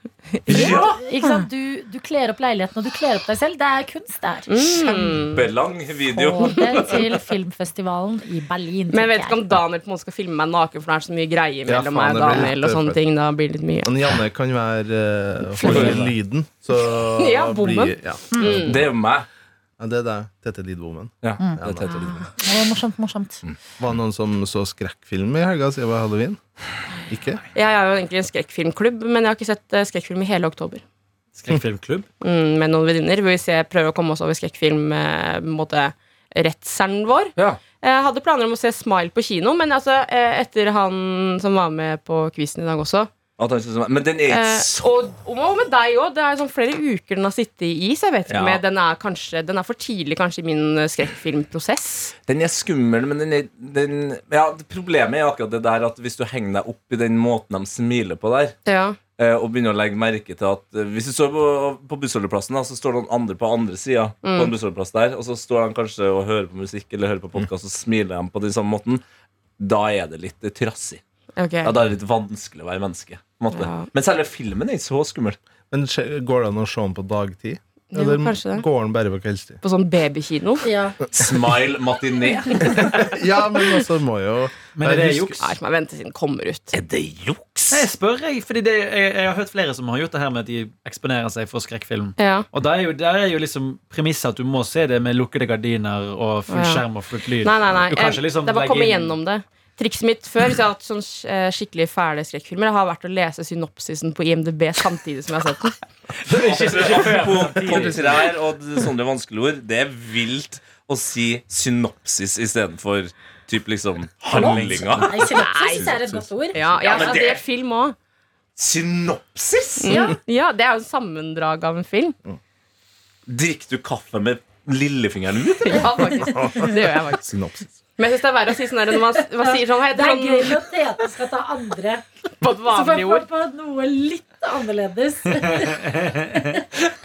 Ja.
Ikke sant? Du, du kler opp leiligheten, og du kler opp deg selv. Det er kunst der.
Mm.
Belang video.
Både til filmfestivalen i Berlin.
Men jeg vet
tenker
ikke om
jeg.
da Daniel på en måte skal filme meg naken, for det er så mye greier
Ja,
mellom meg
faen,
og
det blir
Daniel. og
litt
sånne
tøft.
ting, da blir det litt mye
Men Janne kan være eh,
Flink.
holde lyden. Så
Ja, bommen.
blir- Ja.
Det er jo meg.
Ja, det der. Tete Lidbommen.
Ja,
Ja,
det er
Mm.
Tete Lidbom.
Å, morsomt, morsomt.
Var det noen som så skrekkfilm i helga siden det var halloween? Ikke?
Jeg er jo egentlig en skrekkfilmklubb, men jeg har ikke sett eh, skrekkfilm i hele oktober.
Skrekkfilmklubb.
Mm, med noen venninner, hvor vi ser, prøver å komme oss over skrekkfilm eh, på en måte redselen vår. Eh,
Ja.
Jeg hadde planer om å se Smile på kino, men altså, eh, etter han som var med på quizen i dag også
At han synes, men den er ikke
eh,
så
og, og med deg òg. Det er sånn flere uker den har sittet i, så jeg vet ikke
Ja.
om jeg- den er kanskje Den er for tidlig kanskje i min eh, skrekkfilmprosess.
Den er skummel, men den er den, ja, Problemet er akkurat det der at hvis du henger deg opp i den måten de smiler på der,
Ja.
eh, og begynner å legge merke til at eh, Hvis du står på, på bussholdeplassen, da, så står det noen andre på andre sida, på
Mm.
en bussholdeplass der, og så står de kanskje og hører på musikk eller hører på podkast, og smiler de på den samme måten, da er det litt eh, trassig.
Ok.
Ja, da er det litt vanskelig å være menneske. På en måte.
Ja.
Men selve filmen er ikke så skummel.
Men skje- går det an å se den på dagtid?
Ja,
Eller
kanskje det.
går den bare på kveldstid?
På sånn babykino.
Ja.
Smile matiné.
Ja, men også må jo
Men er det
Jeg husker-
juks?
Nei, så må jeg vente til den kommer ut.
Er det juks?
Nei, jeg spør, jeg. Fordi det, jeg, jeg har hørt flere som har gjort det her med at de eksponerer seg for skrekkfilm.
Ja.
Og der er jo, der er jo liksom premisset at du må se det med lukkede gardiner og full
Ja.
skjerm og fullt lyd.
Nei, nei, nei.
Du kan ikke
Eh,
liksom
det er bare å
legge
komme
inn-
gjennom det. Trikset mitt før hvis jeg har hatt sånn eh, skikkelig fæle skrekkfilmer, har vært å lese synopsisen på IMDb samtidig som jeg har sett den.
Ikke- ikke før,
Apropos
men samtidig.
podkaster her og sånne vanskelige ord. Det er vilt å si synopsis istedenfor typ liksom handlinga.
Nei, synopsis synes jeg er et godt ord.
Ja, ja,
men
altså,
det-
det er film òg.
Synopsis?
Ja. ja, det er jo en sammendrag av en film.
Drikker du kaffe med lillefingeren ut?
Ja, faktisk. Det gjør jeg faktisk.
Synopsis.
Men jeg syns det er verre å si sånn der når man, man sier sånn Hei,
Det er gøy
sånn
at Tete skal ta andre.
på et
Så får
vanlig
jeg
ord.
få på noe litt annerledes.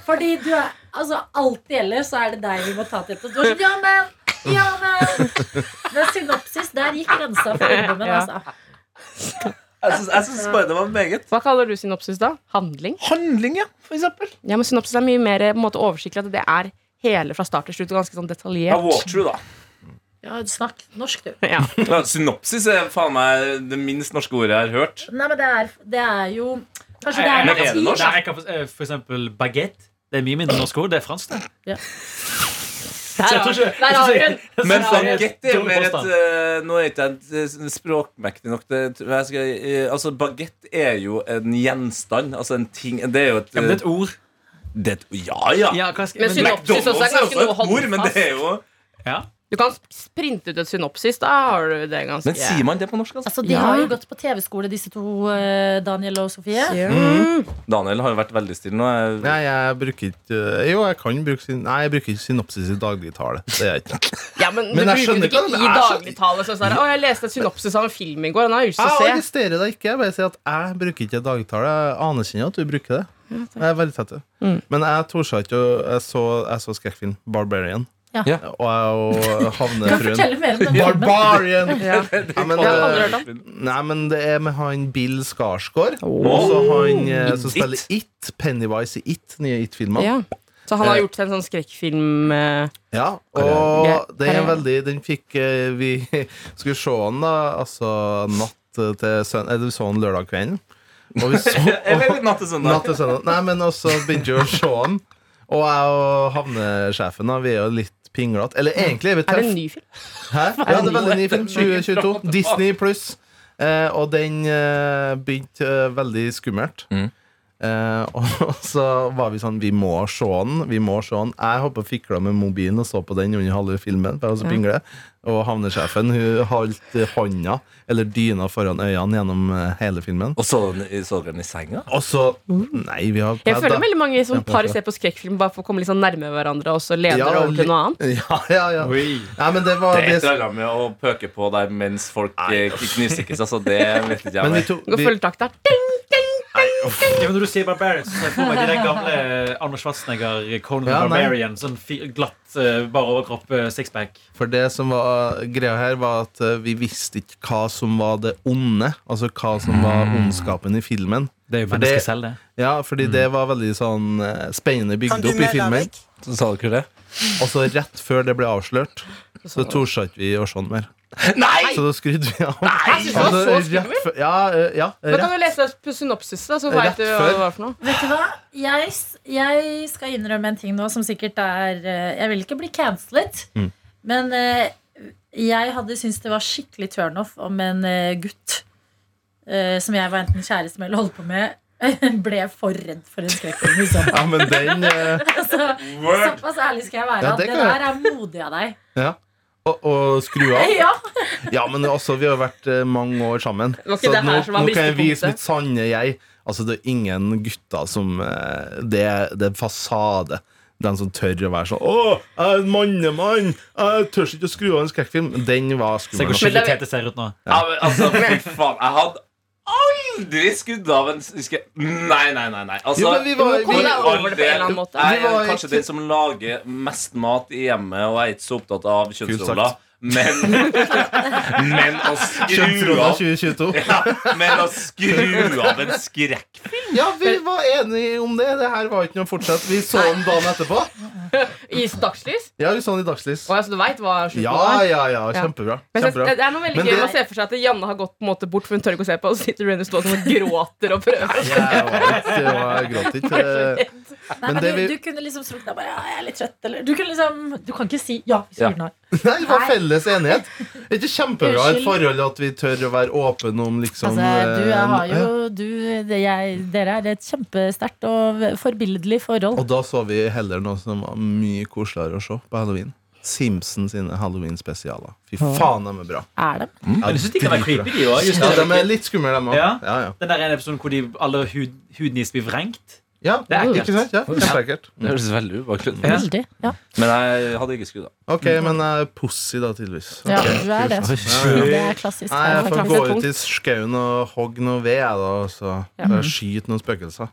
Fordi du er Altså, alltid ellers så er det deg vi må ta til. Du er sånn, ja, men, ja, men. Det er synopsis. Der gikk grensa for ungdommen,
Ja.
altså.
Jeg syns- jeg syns bare det var meget.
Hva kaller du synopsis, da? Handling?
Handling, ja, for eksempel.
Ja, men synopsis er mye mer eh, på en måte, oversiktlig. At det er hele fra start til slutt og ganske sånn
Ja,
detaljert.
walkthrough, da.
Ja, snakk norsk, du.
Ja.
Ja, synopsis er faen meg det minst norske ordet jeg har hørt.
Nei, men det er, det er jo Kanskje det
Nei,
er
Men er
jeg
det
kan-
norsk?
Nei, jeg kan for, eh, for eksempel baguette. Det er mye mindre norsk ord. Det er fransk, det.
Ja.
Så jeg tror ikke-
Der har vi den.
jeg tror ikke-
Men
jeg tror ikke-
bagett er
dårlig
mer et
sånn
eh,
påstand.
Nå er ikke jeg eh, språkmektig nok til jeg skal, eh, Altså, bagett er jo en gjenstand. Altså en ting Det er jo et,
Ja, men det er et ord.
eh, det er et- Ja, ja!
Ja, hva skal,
Men
men,
synop- Synopsis også er
McDonald's
kanskje noe å holde
ord, men det er jo
ja.
Du kan sprinte ut et synopsis, da har du det ganske
Men sier man det på norsk, altså?
Altså, De
Ja.
har jo gått på TV-skole, disse to, eh, Daniel og Sofie.
Daniel har jo vært veldig stille nå. Jeg-
Nei, jeg bruker ikke øh, Jo, jeg kan bruke syn... Nei, jeg bruker ikke synopsis i dagligtale. Det gjør jeg ikke.
Ja, men,
Men
du bruker
jeg skjønner
det ikke
ikke
i
hva det er, så- Ah,
dagligtale. Sånn, sånn, å, jeg leste et synopsis av en film i går. Den har jeg lyst til
Jeg
å se.
arresterer deg ikke. Jeg bare sier at jeg bruker ikke dagligtale. Jeg anerkjenner at du bruker det. Jeg er veldig tett. Men jeg torde ikke å jeg så, jeg så skrekkfilm Barbarian.
Ja.
Ja.
Og jeg og
Kan
havnefruen.
fortelle mer om den filmen.
Barbarian!
Ja.
Ja, men,
Jeg har aldri hørt
øh, nei, men det er med han Bill Skarsgård. Og så han eh, som
It.
spiller It. Pennywise i It, nye It-filmer.
Ja. Så han har
Eh.
gjort en sånn skrekkfilm eh,
Ja,
Ja,
og den er
karriere.
veldig Den fikk eh, Vi skulle se den da Altså natt til søndag Eller vi så den lørdag kvelden Og vi så og,
Eller natt til søndag.
Natt til søndag Nei, men også begynte vi å se den Og jeg og havnesjefen da Vi er jo litt pinglet Eller egentlig er
Er
vi
det en
tøff
ny film?
Hæ? Ja, det er veldig ny film 2022 Disney pluss eh, Og den eh, begynte eh, veldig skummelt
Mm.
Eh, og så var vi sånn Vi må se den, vi må se den Jeg hoppet og fikla med mobilen og så på den under halve filmen for jeg var så pingle. Og havnesjefen hun holdt eh, hånda Eller dyna foran øynene gjennom eh, hele filmen
Og så den- så dere den i senga?
Og så, nei vi har
Mm. Jeg føler veldig mange som
Ja,
par
det-
ser på skrekkfilm bare for å komme litt sånn nærme hverandre, og så leder det over til noe annet.
Ja, ja, ja Nei, men det var
Det er et
det,
eller annet med å pøke på der mens folk eh, knivstikkes. Altså, det vet ikke jeg.
Men vi
mer.
tok
Gå
vi,
følgetakt der. Ding, ding.
Ja, men når du sier Barbarian, så ser jeg for meg de der gamle Arnold Schwarzenegger, Conan the
Ja, nei.
Barbarian. Sånn fi- glatt, eh, bare overkropp, eh, sixpack.
For det som var greia her, var at eh, vi visste ikke hva som var det onde. Altså hva som var ondskapen i filmen.
Mm. Det er jo Mm.
For det-
mennesket selv, det.
Ja, fordi det var veldig sånn eh, spennende bygd opp i filmen.
Så sa dere det?
Og så rett før det ble avslørt, så torde ikke vi å se den mer.
Nei!
Så da skrudde vi av. Altså,
Jeg synes det var så
rett
skummelt.
før- ja, eh, ja,
Men kan
rett.
du lese opp synopsis, da, så
Rett
vet du hva
før.
det var for noe?
Vet du hva? Jeg, s- jeg skal innrømme en ting nå som sikkert er eh, Jeg vil ikke bli cancelet,
Mm.
men eh, jeg hadde syntes det var skikkelig turnoff om en eh, gutt eh, som jeg var enten kjæreste med eller holdt på med, ble for redd for en skrekkfilm. liksom.
Ja, men den eh,
Altså,
Word.
såpass ærlig skal jeg være.
Ja,
at
det
det,
kan jeg.
der er modig av deg.
ja. Og, og skru av.
Ja,
Ja, men også, vi har vært eh, mange år sammen.
var ikke
Så
det
nå,
her som var
nå kan jeg
bristepunktet?
vise mitt sanne jeg. Altså, det er ingen gutter som eh, Det, er- det er en fasade. Den som tør å være sånn 'Å, jeg er en mannemann! Jeg tør ikke å skru av en skrekkfilm.' Den var
Se hvor
skummel.
skikkelig tete ser ut nå.
Ja, men altså, fy faen. Jeg hadde aldri skudd av en skre... Nei, nei, nei. nei. Altså,
Jo, men vi var,
Kom
vi,
deg over det på en eller annen måte.
Jeg
Vi var
er kanskje
ikke-
den som lager mest mat i hjemmet, og jeg er ikke så opptatt av kjønnsroller.
sagt.
Men, men å skru
Kjønnsrolla
av
2022.
ja, Men å skru av en skrekk
Ja, vi var enige om det. Det her var ikke noe fortsett. Vi så den dagen etterpå.
I dagslys?
Ja, vi så den i dagslys.
Å, ja, så du vet hva slutten
Ja,
var?
ja, ja. Kjempebra.
Men jeg synes,
kjempebra.
det er noe veldig
Men
gøy
det-
å se for seg at Janne har gått på en måte bort, for hun tør ikke å se på, og så sitter Renny stående sånn og gråter og prøver.
Jeg var ikke, jeg var- jeg gråt ikke.
Nei,
Men
men
det
du,
vi-
du kunne liksom strukket deg bare Ja, jeg er litt trøtt, eller Du, kunne liksom, du kan ikke si ja. hvis du
Ja.
gjorde noe.
Nei, det var felles enighet. Det er ikke kjempebra i et
Unnskyld.
forhold at vi tør å være åpne om liksom
Altså, du
eh,
jeg har jo
ja.
du, det, jeg, Dere er et kjempesterkt og forbilledlig forhold.
Og da så vi heller noe som var mye koseligere å se på halloween. Simpson sine halloween-spesialer. Fy faen, de er bra.
Er dem?
Men jeg synes de kan være creepy, de også, just
Ja,
det.
de er litt skumle, de òg.
Ja.
Ja, ja.
Den der ene episoden hvor de alle hud, huden deres blir vrengt.
ja,
Det er ekkelt.
ikke sant? Ja, Kjempeekkelt.
Det høres veldig ubehagelig ut.
Ja.
Veldig. Ja.
Men jeg hadde ikke skrudd av.
Ok, men jeg er pussy da, tydeligvis.
Ja,
Ok,
du er det.
kult. Ja, ja.
Det er klassisk.
Nei, jeg får
faktisk
gå
et punkt.
ut i skauen og hogge noe ved, jeg, da, og så bare skyte noen spøkelser.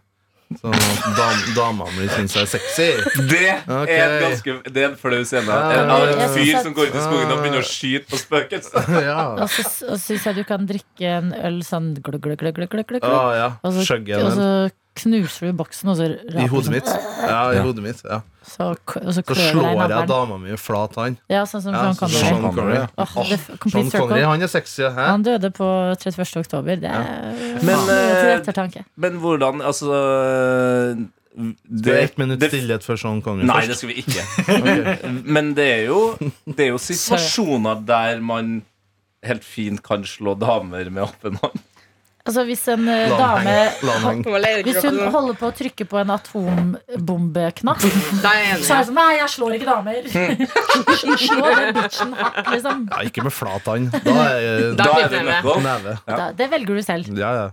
Så dam, damene mine syns jeg er sexy.
Det
Ok.
er en ganske Det er en flau scene.
Ja,
En- Av en
jeg synes
fyr
at-
som går ut i skogen og begynner å skyte på spøkelser.
ja.
Og så og så syns jeg du kan drikke en øl sånn glugg, glugg, glugg, glugg, glugg, glugg.
Å ja.
Og så,
Skjøgget
og
den.
så knuser du boksen, og så raper
I
du
hodet
sånn,
mitt. Ja, i hodet mitt, ja.
Så, k- og så
Så
klør du deg i
slår jeg
navlen.
dama mi i flat hand.
Ja, sånn som
Ja,
Sean
så-
Connery.
Sean Connery. ja.
Åh, det f-
Sean
complete
Connery,
circle.
han er sexy. Hæ?
Han døde på 31. oktober. Det er
Men,
det er til
eh,
ettertanke.
Men hvordan Altså
Det er ett minutt
det-
stillhet for Sean Connery
Nei,
først.
det skal vi ikke.
Ok.
Men det er jo, det er jo situasjoner der man helt fint kan slå damer med åpen hånd.
Altså, hvis en eh,
La han
dame
henge. La han henge.
Hvis hun
Nei,
holder på å trykke på en atombombeknapp, så
jeg er
er
enig.
det sånn Nei, jeg slår ikke
Hmm.
damer. Slå den bitchen hardt, liksom.
Ja, ikke med flat hand. Da er
Da
da
er
er det
jeg med.
knuckle.
neve.
Ja.
Da, det velger du selv.
Ja, ja.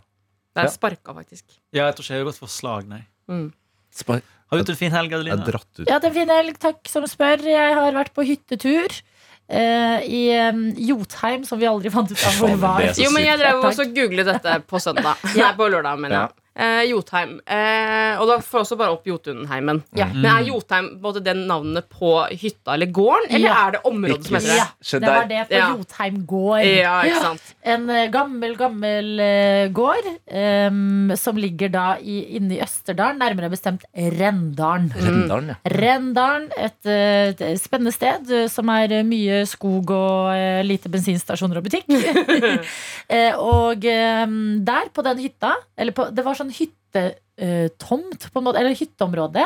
Det er sparka, faktisk.
Ja, jeg tror ikke jeg har gått for slag, nei.
Mm.
Spar-
Har du hatt en fin helg,
Jeg er
Adelina?
dratt ut.
Ja, det er en fin helg. Takk som spør. Jeg har vært på hyttetur. eh, I eh, Jotheim, som vi aldri fant ut av hvor
Faen,
var.
det er så
Jo, men jeg drev
Takk.
også og googlet dette på søndag. Nei, på lørdag, mener jeg. Eh, Jotheim. Eh, og da får jeg også bare opp Jotunheimen.
Ja.
Men er Jotheim på en måte den navnet på hytta eller gården, eller
Ja.
er det området som heter det?
Ja,
Se
det var
der.
det på
Ja.
Jotheim gård.
Ja, ikke sant?
En eh, gammel, gammel eh, gård em, som ligger da i, inne i Østerdalen, nærmere bestemt Rendalen.
Rendalen,
Mm.
ja.
Rendalen, et, eh, et spennende sted eh, som er eh, mye skog og eh, lite bensinstasjoner og butikk. Eh, og eh, der, på den hytta Eller på, det var sånn hyttetomt, på en måte, eller hytteområde,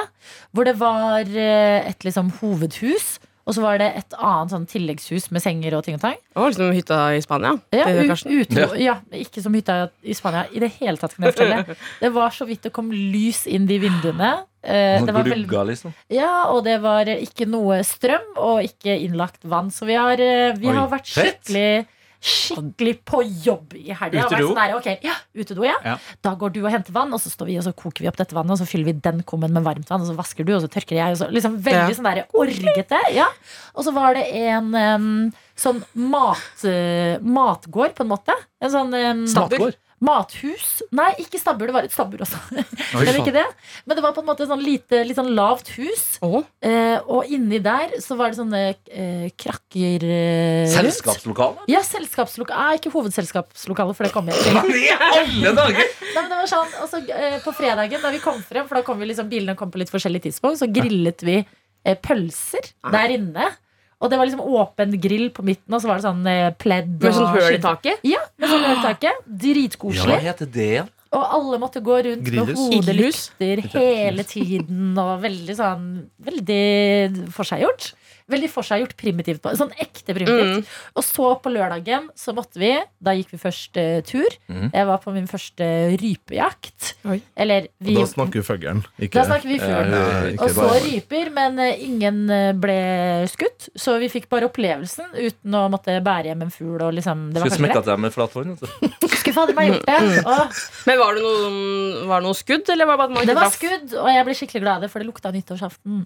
hvor det var eh, et liksom hovedhus. Og så var det et annet sånn tilleggshus med senger og ting og tang.
Det var liksom hytta i Spania.
Ja,
Det er
ut,
Karsten.
utro, ja. ikke som hytta i Spania i det hele tatt, kan jeg fortelle. Det var så vidt det kom lys inn de vinduene. Eh, Det var veldig
Glugga, liksom.
ja, og det var ikke noe strøm og ikke innlagt vann. Så vi har, eh, vi
Oi,
har vært
fett.
skikkelig Skikkelig på jobb i helga.
Utedo?
Vært sånn der, ok, ja, utedo, ja.
Ja.
Da går du og henter vann, og så står vi og så koker vi opp dette vannet, og så fyller vi den kummen med varmt vann, og så vasker du, og så tørker jeg, og så liksom veldig
Ja.
sånn der orgete. Ja. Og så var det en em, sånn mat, eh, matgård, på en måte. En sånn em,
Stabbur.
Mathus? Nei, ikke stabbur. Det var et stabbur også. Eller ikke det. Men det var på en måte sånn lite, litt sånn lavt hus.
Å,
Eh, og inni der så var det sånne eh, krakker eh, rundt.
Selskapslokalet?
Ja, selskapsloka eh, ikke hovedselskapslokalet, for det kom jeg til.
I alle dager!
Nei, men det var sånn, og så, eh, på fredagen da vi kom frem, for da kom vi liksom, bilene kom på litt forskjellig tidspunkt, så grillet vi eh, pølser
Ah.
der inne. Og det var liksom åpen grill på midten, og så var det sånn eh, pledd
Med sånn
og
høl i
skinn-
taket.
Ja, med sånn høl i taket.
Hva
Dritkoselig.
heter det igjen?
Og alle måtte gå rundt
Grillhus.
med
Ildhus.
hodelykter hele tiden. Og veldig sånn Veldig forseggjort. Veldig forseggjort primitivt. på- Sånn ekte primitivt. Og så på lørdagen så måtte vi Da gikk vi først eh, tur.
Mhm.
Mm.
Jeg var på min første rypejakt.
Oi.
Eller vi
Da snakker vi fuglen. ikke-
Da snakker vi fuglen.
Eh, ikke
og så
bare-
ryper, men eh, ingen eh, ble skutt. Så vi fikk bare opplevelsen uten å måtte bære hjem en fugl. Og liksom, det var kanskje
Skulle smekka
greit.
til deg med flat hånd. vet du.
Skulle fader meg gjort det. Åh.
Men var det noe, var det noe skudd, eller var det bare at man ikke
Det var
traff?
skudd, og jeg ble skikkelig glad i det, for det lukta nyttårsaften.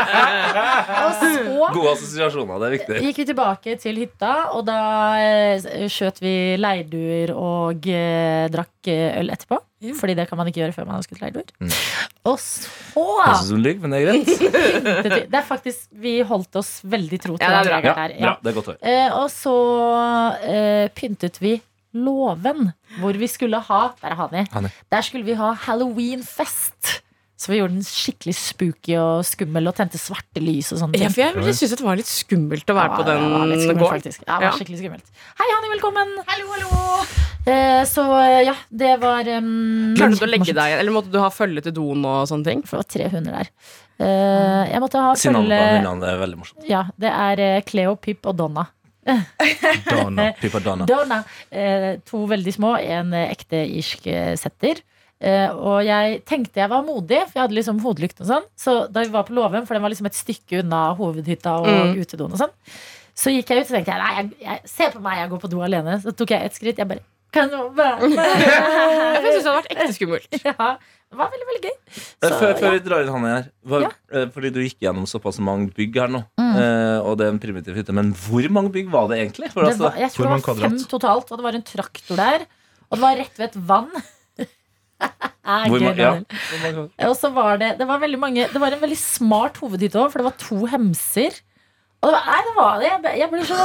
og
Gode assosiasjoner, det er
så
viktig.
gikk vi tilbake til hytta, og da eh, skjøt vi leirduer og eh, drakk eh, øl etterpå. Fordi det kan man ikke gjøre før man har skutt leirduer.
Mm.
Og
Høres ut
så
som lyg, men det er greit.
det, er faktisk Vi holdt oss veldig tro til
Mm. Ja, det er
hverandre
bra.
der.
Bra, det er godt å høre.
Eh, og så eh, pyntet vi låven, hvor vi skulle ha Der er Hani.
Hani.
Der skulle vi ha halloweenfest. Så vi gjorde den skikkelig spooky og skummel og tente svarte lys og sånne
Ja,
ting.
for jeg ville synes det var litt skummelt å være på den
det var litt skummelt,
gården.
faktisk. Ja, det
Ja.
var skikkelig skummelt. Hei, Hani, velkommen. Hallo, hallo. Eh, så eh, ja, det var um,
Klarte du å legge deg, eller måtte du ha følge til doen og sånne ting?
For det var tre hunder der. Eh, jeg måtte ha
Sinan på
følge
Milan, det er veldig morsomt.
Ja, det er eh, Cleo, Pip og Donna.
Dana.
Pipa Dana.
Donna. Eh, to veldig små, en eh, ekte irsk eh, setter. Eh, og jeg tenkte jeg var modig, for jeg hadde liksom hodelykt og sånn. Så da vi var på låven, for den var liksom et stykke unna hovedhytta og
Mm.
utedoen og sånn, så gikk jeg ut og tenkte jeg, nei, jeg, jeg, se på meg, jeg går på do alene. Så tok jeg et skritt. Jeg bare kan du være med?
Jeg synes det hadde vært ekte skummelt.
Ja, det var veldig, veldig gøy.
Eh,
Så,
Før,
ja.
før vi drar inn han her hva-
Ja. Mm.
eh, Fordi du gikk gjennom såpass mange bygg her nå eh, Og det er en primitiv hytte Men hvor mange bygg var det egentlig? For
Det
altså,
var, jeg
Hvor
tror det
mange
var fem
kvadrat?
totalt, og det var en traktor der. Og det var rett ved et vann. Er
Hvor
gøy,
ma- ja.
Daniel. Og så var det, det var veldig mange Det var en veldig smart hovedhytte òg, for det var to hemser. Og det var, nei, det var det. Jeg ble- Jeg ble så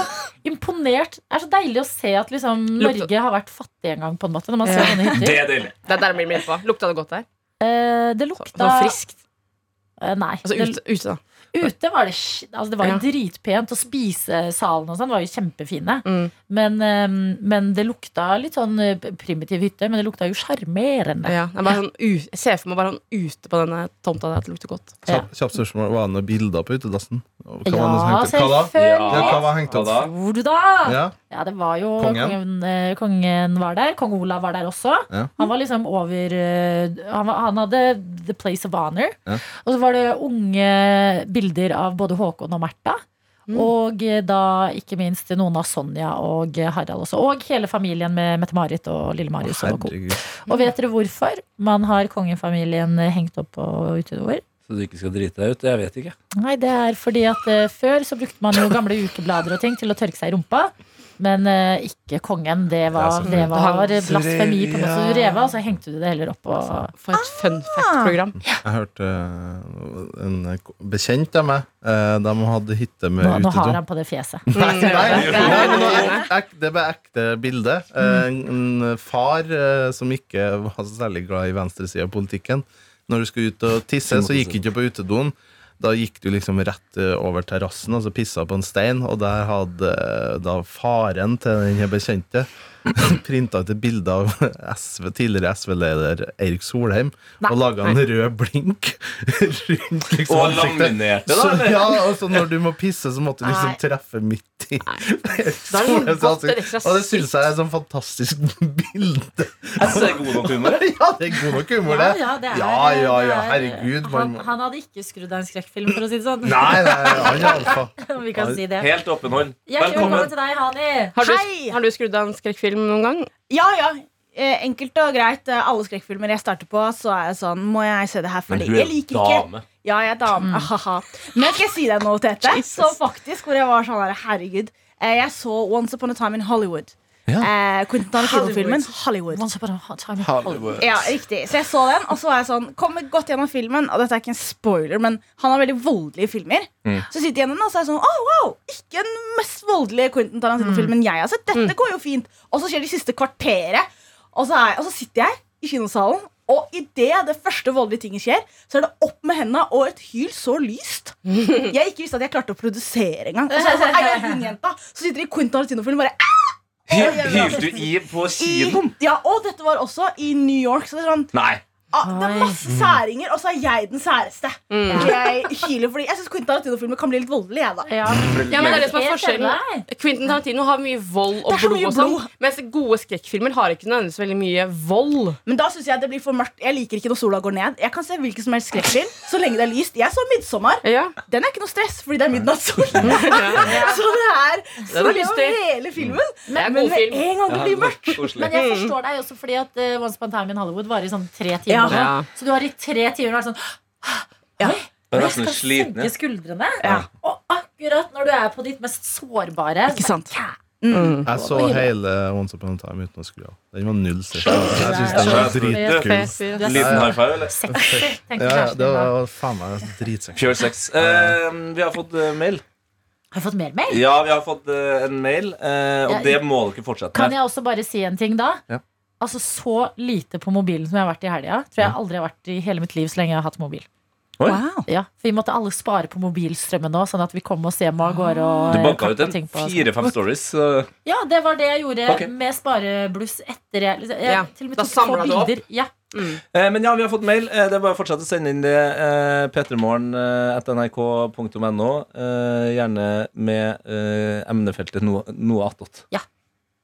imponert. Det er så deilig å se at liksom,
Lukta-
Norge har vært fattig en gang, på en måte. Når man ser sånne hytter.
det er deilig
Det er der jeg blir med på. Lukta det godt der?
Eh, det lukta
Sånn friskt.
Eh, Nei.
Altså
det,
ute, ute da.
ute var det sk- altså, Det var jo
Ja.
dritpent, og spisesalen og sånn var jo kjempefine.
Mm.
Men, eh, men det lukta litt sånn eh, primitiv hytte, men det lukta jo sjarmerende.
Ja, det er bare sånn, u- jeg ser for meg bare han ute på denne tomta der at det lukter godt.
Kjapt kjapt spørsmål. Var det noen bilder på utedassen? Og Hva var det som
Ja,
hengte opp? Hva da? Ja,
selvfølgelig!
hva var hengt
Hva
opp?
da?
Tror du da?
Ja.
Ja, det var jo
Kongen.
kongen. eh, kongen var der. Kong Olav var der også.
Ja.
Han var liksom over eh, han, var, han hadde the place of honor.
Ja.
Og så var det unge bilder av både Håkon og Märtha. Og eh, da ikke minst noen av Sonja og eh, Harald også. Og hele familien med Mette-Marit og Lille-Marius. og co.
Herregud.
og vet dere hvorfor man har kongefamilien eh, hengt opp på utedoer?
Så du ikke skal drite deg ut, jeg vet ikke
Nei, det er fordi at eh, før så brukte man jo gamle ukeblader og ting til å tørke seg i rumpa. Men eh, ikke kongen. Det var,
Det
det
er
var
Han-
blasfemi på en måte. Så du rev av, så hengte du det heller opp. Og,
For
Ah!
et fun fact-program.
Jeg hørte eh, en bekjent av meg. eh, De hadde hytte med
nå, nå har
utedo.
han på det fjeset.
Nei, nei, nei, men det er ek- det var ekte bilde. Eh, En en far eh, som ikke var så særlig glad i venstresida av politikken. Når du skulle ut og tisse, så gikk du ikke på utedoen. Da gikk du liksom rett eh, over terrassen og så pissa på en stein, og der hadde eh, da faren til den her bekjente printa ut et bilde av SV, tidligere SV-leder Eirik Solheim og laga en rød blink rundt liksom
Og
ansiktet.
laminerte
Så,
da, eller?
ja, og så når du må pisse, så måtte du liksom
Nei.
treffe midt i
Da har hun
Solheims
fått
ansikt.
et ekstra
Og det syns jeg er et sånn fantastisk bilde.
Jeg synes det er god nok humor
Ja, det er god nok humor, det. ja, ja, ja, herregud. man
Han,
må-
han hadde ikke skrudd av en skrekkfilm, for å si det sånn.
Nei, nei, han er alfa.
Vi kan si det.
Helt åpen hånd
Hjertelig velkommen
Velkommen
til deg, Hani.
Har du,
Hei!
har du skrudd av en skrekkfilm noen gang?
Ja, ja. Eh, Enkelt og greit. Eh, Alle skrekkfilmer jeg starter på, så er jeg sånn Må jeg se det her?
Men
Fordi
hun
jeg
er
liker ikke
dame
Ja, jeg er dame. Ahaha. Men skal jeg si deg noe, Tete? Så faktisk, hvor jeg var sånn der, herregud. eh, Jeg så Once Upon a Time in Hollywood. Eh, Quentin Tarantino-filmen Hollywood.
Once upon a time in Hollywood.
Ja, riktig. Så jeg så den, og så var jeg sånn Kommer godt gjennom filmen, og dette er ikke en spoiler, men han har veldig voldelige filmer. Så sitter jeg igjen med den, og så er jeg sånn Å, wow! Ikke den mest voldelige Quentin Tarantino-filmen
Mm.
jeg har sett. Dette går jo fint. Og så skjer det siste kvarteret, og så, er, og så sitter jeg i kinosalen, Og idet det første voldelige tinget skjer, så er det opp med henda og et hyl så lyst. Jeg ikke visste at jeg klarte å produsere engang. Og så er det sånn, er jeg hun jenta? Så sitter de i Quentin Tarantino-film bare «Ah!»
Hylte
sånn
du i på
i,
kiden?
Ja, Og dette var også i New York. Så det er sånn
Nei.
ah, Det er
Mm.
masse særinger, og så er jeg den særeste. Jeg hyler fordi Jeg syns Quentin Tarantino-filmer kan bli litt voldelige, jeg, da.
Ja, men det er det som er
Helt
forskjellen.
enig.
Quentin Tarantino har mye vold og
Det er så
blod,
mye
og sånn, mens gode skrekkfilmer har ikke nødvendigvis veldig mye vold.
Men da synes jeg det blir for mørkt. Jeg liker ikke når sola går ned. Jeg kan se hvilken som helst skrekkfilm så lenge det er lyst. Jeg så 'Midtsommer'.
Ja.
Den er ikke noe stress, fordi det er midnattssol. så det er sol
lystig.
over hele filmen.
Det er en
Men
god
med
film.
en gang det blir mørkt
Men jeg forstår deg også fordi at eh, Once Upon a Time in Hollywood varer i sånn tre timer.
Ja.
nå.
Ja.
Så du har i tre timer vært sånn
Ja.
Oi, jeg
Jeg er nesten
skal
sliten,
senke
jeg.
skuldrene.
Ja.
Og akkurat når du er på ditt mest sårbare
Ikke sant?
Jeg så hele Once Upon a Time uten å skru av. Den var null sett. Jeg syns den var dritkul.
Dritkult.
Du er
Liten high five, eller?
sexy. Tenk på
Ja, ja,
kjæresten
det
din da.
var faen meg dritsexy.
Pure sex. Eh, vi har fått eh, mail.
Har jeg fått mer mail?
Ja, vi har fått eh, en mail, eh, og det må dere fortsette
Kan
med.
jeg også bare si en ting da?
Ja.
Altså Så lite på mobilen som jeg har vært i helga. Tror jeg aldri har vært i hele mitt liv så lenge jeg har hatt mobil.
Oi.
Ja, for Vi måtte alle spare på mobilstrømmen nå, sånn at vi kom oss hjem og går og
Du banka ut
kakka
en
ting på og sånn.
fire-fem stories. så-
Ja, det var det jeg gjorde
Ok.
med sparebluss etter jeg, jeg
Ja,
til og med
da
tok få
samlet du opp.
bilder. Ja.
Eh, men ja, vi har fått mail. Eh, det er bare å fortsette å sende inn det. Eh, P3morgen.nrk.no. Eh, gjerne med eh, emnefeltet noe, noe attåt.
Ja.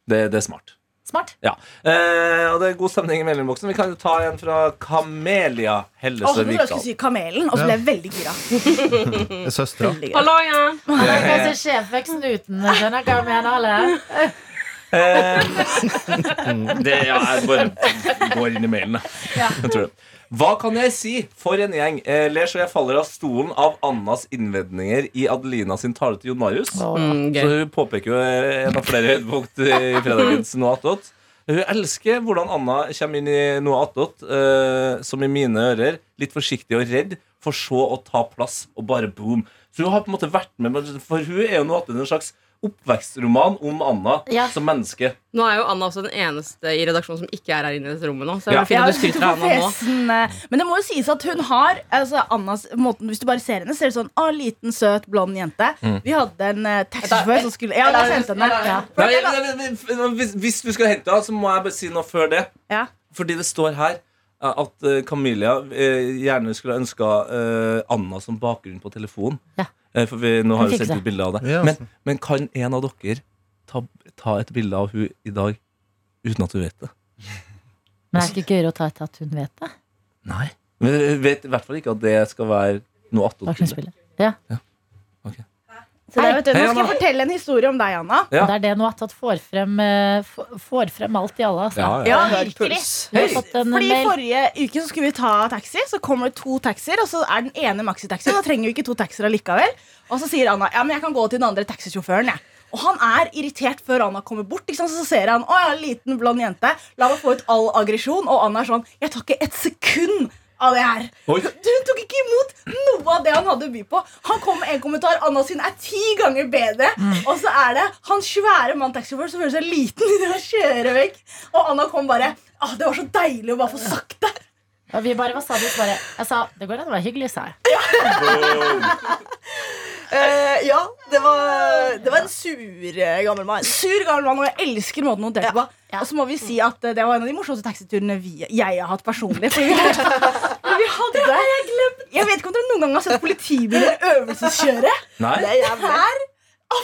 Det, det er smart.
Smart.
Ja. Eh, og det er god stemning i mailinnboksen. Vi kan jo ta en fra Kamelia
Åh, nå
Hellesø
trodde jeg
Vikdal.
skulle si Kamelen, og så ble jeg veldig gira.
Søstera.
Veldig gira.
Hallo, ja.
Jeg kan se sjefveksten uten den. Jeg kan mene alle.
Eh, det, ja, jeg bare går inn i mailen, jeg. jeg. tror det. Hva kan jeg si? For en gjeng. Eh, ler så jeg faller av stolen av Annas innvendinger i Adelina sin tale til Jon Marius.
Mm,
Så
gøy.
hun påpeker jo eh, en av flere høydepunkt eh, i fredagens Noe attåt. Hun elsker hvordan Anna kommer inn i Noe attåt, eh, som i mine ører, litt forsiktig og redd, for så å ta plass og bare boom. Så hun har på en måte vært med, men for hun er jo Noe attåt en slags oppvekstroman om Anna
Ja.
som menneske.
Nå er jo Anna også den eneste i redaksjonen som ikke er her inne i dette rommet nå. Så det
Ja.
er fint at du skryter av Anna nå.
Fesen, eh, Men det må jo sies at hun har altså Annas, måten, Hvis du bare ser henne, ser det sånn Å, liten, søt, blond jente.
Mm.
Vi hadde en uh, taxisjåfør som skulle Ja, la oss hente henne. Ja.
Nei, men- men- men- Hvis, hvis du skal hente henne, så må jeg bare si noe før det.
Ja.
Fordi det står her eh, at eh, Camilla eh, gjerne skulle ha ønska eh, Anna som bakgrunn på telefonen.
Ja.
Eh, For vi, nå har
Hun
vi
fikk
sendt
det.
ut bilde av det.
Ja, altså.
men, men kan en av dere ta, ta et bilde av hun i dag uten at hun vet det?
Men det er ikke gøyere å ta etter at hun vet det.
Nei. Men hun vet i hvert fall ikke at det skal være noe attåt.
Dagsnyttspillet. Ja.
Så det, vet du,
Hei,
nå skal jeg
Anna.
fortelle en historie om deg, Anna.
Ja.
Det er det Noatot får frem eh, f- Får frem alt i alle. Altså.
Ja, ja.
Ja,
Virkelig. Vi har fått en
Fordi
mail.
Forrige uke så skulle vi ta taxi, så kommer det to taxier. Og så er den ene maxitaxi, og da trenger vi ikke to taxier allikevel. Og så sier Anna ja, men jeg kan gå til den andre taxisjåføren. Jeg. Og han er irritert før Anna kommer bort. Ikke sant? Så ser han å, jeg er en liten, blond jente. La meg få ut all aggresjon. Og Anna er sånn Jeg tar ikke et sekund av det her.
Oi.
Hun tok ikke imot noe av det han hadde å by på. Han kom med en kommentar. Anna sin er ti ganger bedre. Og så er det han svære mann taxisjåføren som føler seg liten idet han kjører vekk. Og Anna kom bare ah, Det var så deilig å bare få sagt det.
Og vi bare, hva sa du? Så bare, jeg sa det går an å være hyggelig, sa jeg.
Eh, ja, det var, det var en sur eh, gammel mann. Sur gammel mann, Og jeg elsker måten hun delte på. Og så må vi si at eh, det var en av de morsomste taxiturene vi, jeg har hatt personlig. Fordi vi, vi hadde, jeg vet ikke om dere noen gang har sett politibiler øvelseskjøre.
Nei?
Det er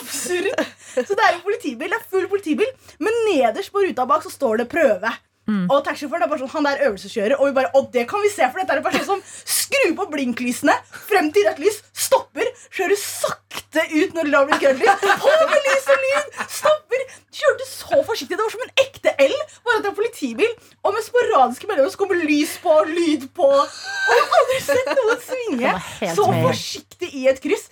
absurd! Så det er jo politibil, det er full politibil, men nederst på ruta bak så står det prøve. Og taxisjåføren er bare sånn, han der øvelseskjører, og vi bare, og det kan vi se, for dette er en person som skrur på blinklysene frem til rødt lys, stopper, kjører sakte ut når det da blir grønt lys, holder med lys og lyd, stopper, kjørte så forsiktig, det var som en ekte L, bare at det er en politibil, og med sporadiske mellomrom så kommer lys på, lyd på, og jeg har aldri sett noen svinge
var helt
så
med.
forsiktig i et kryss.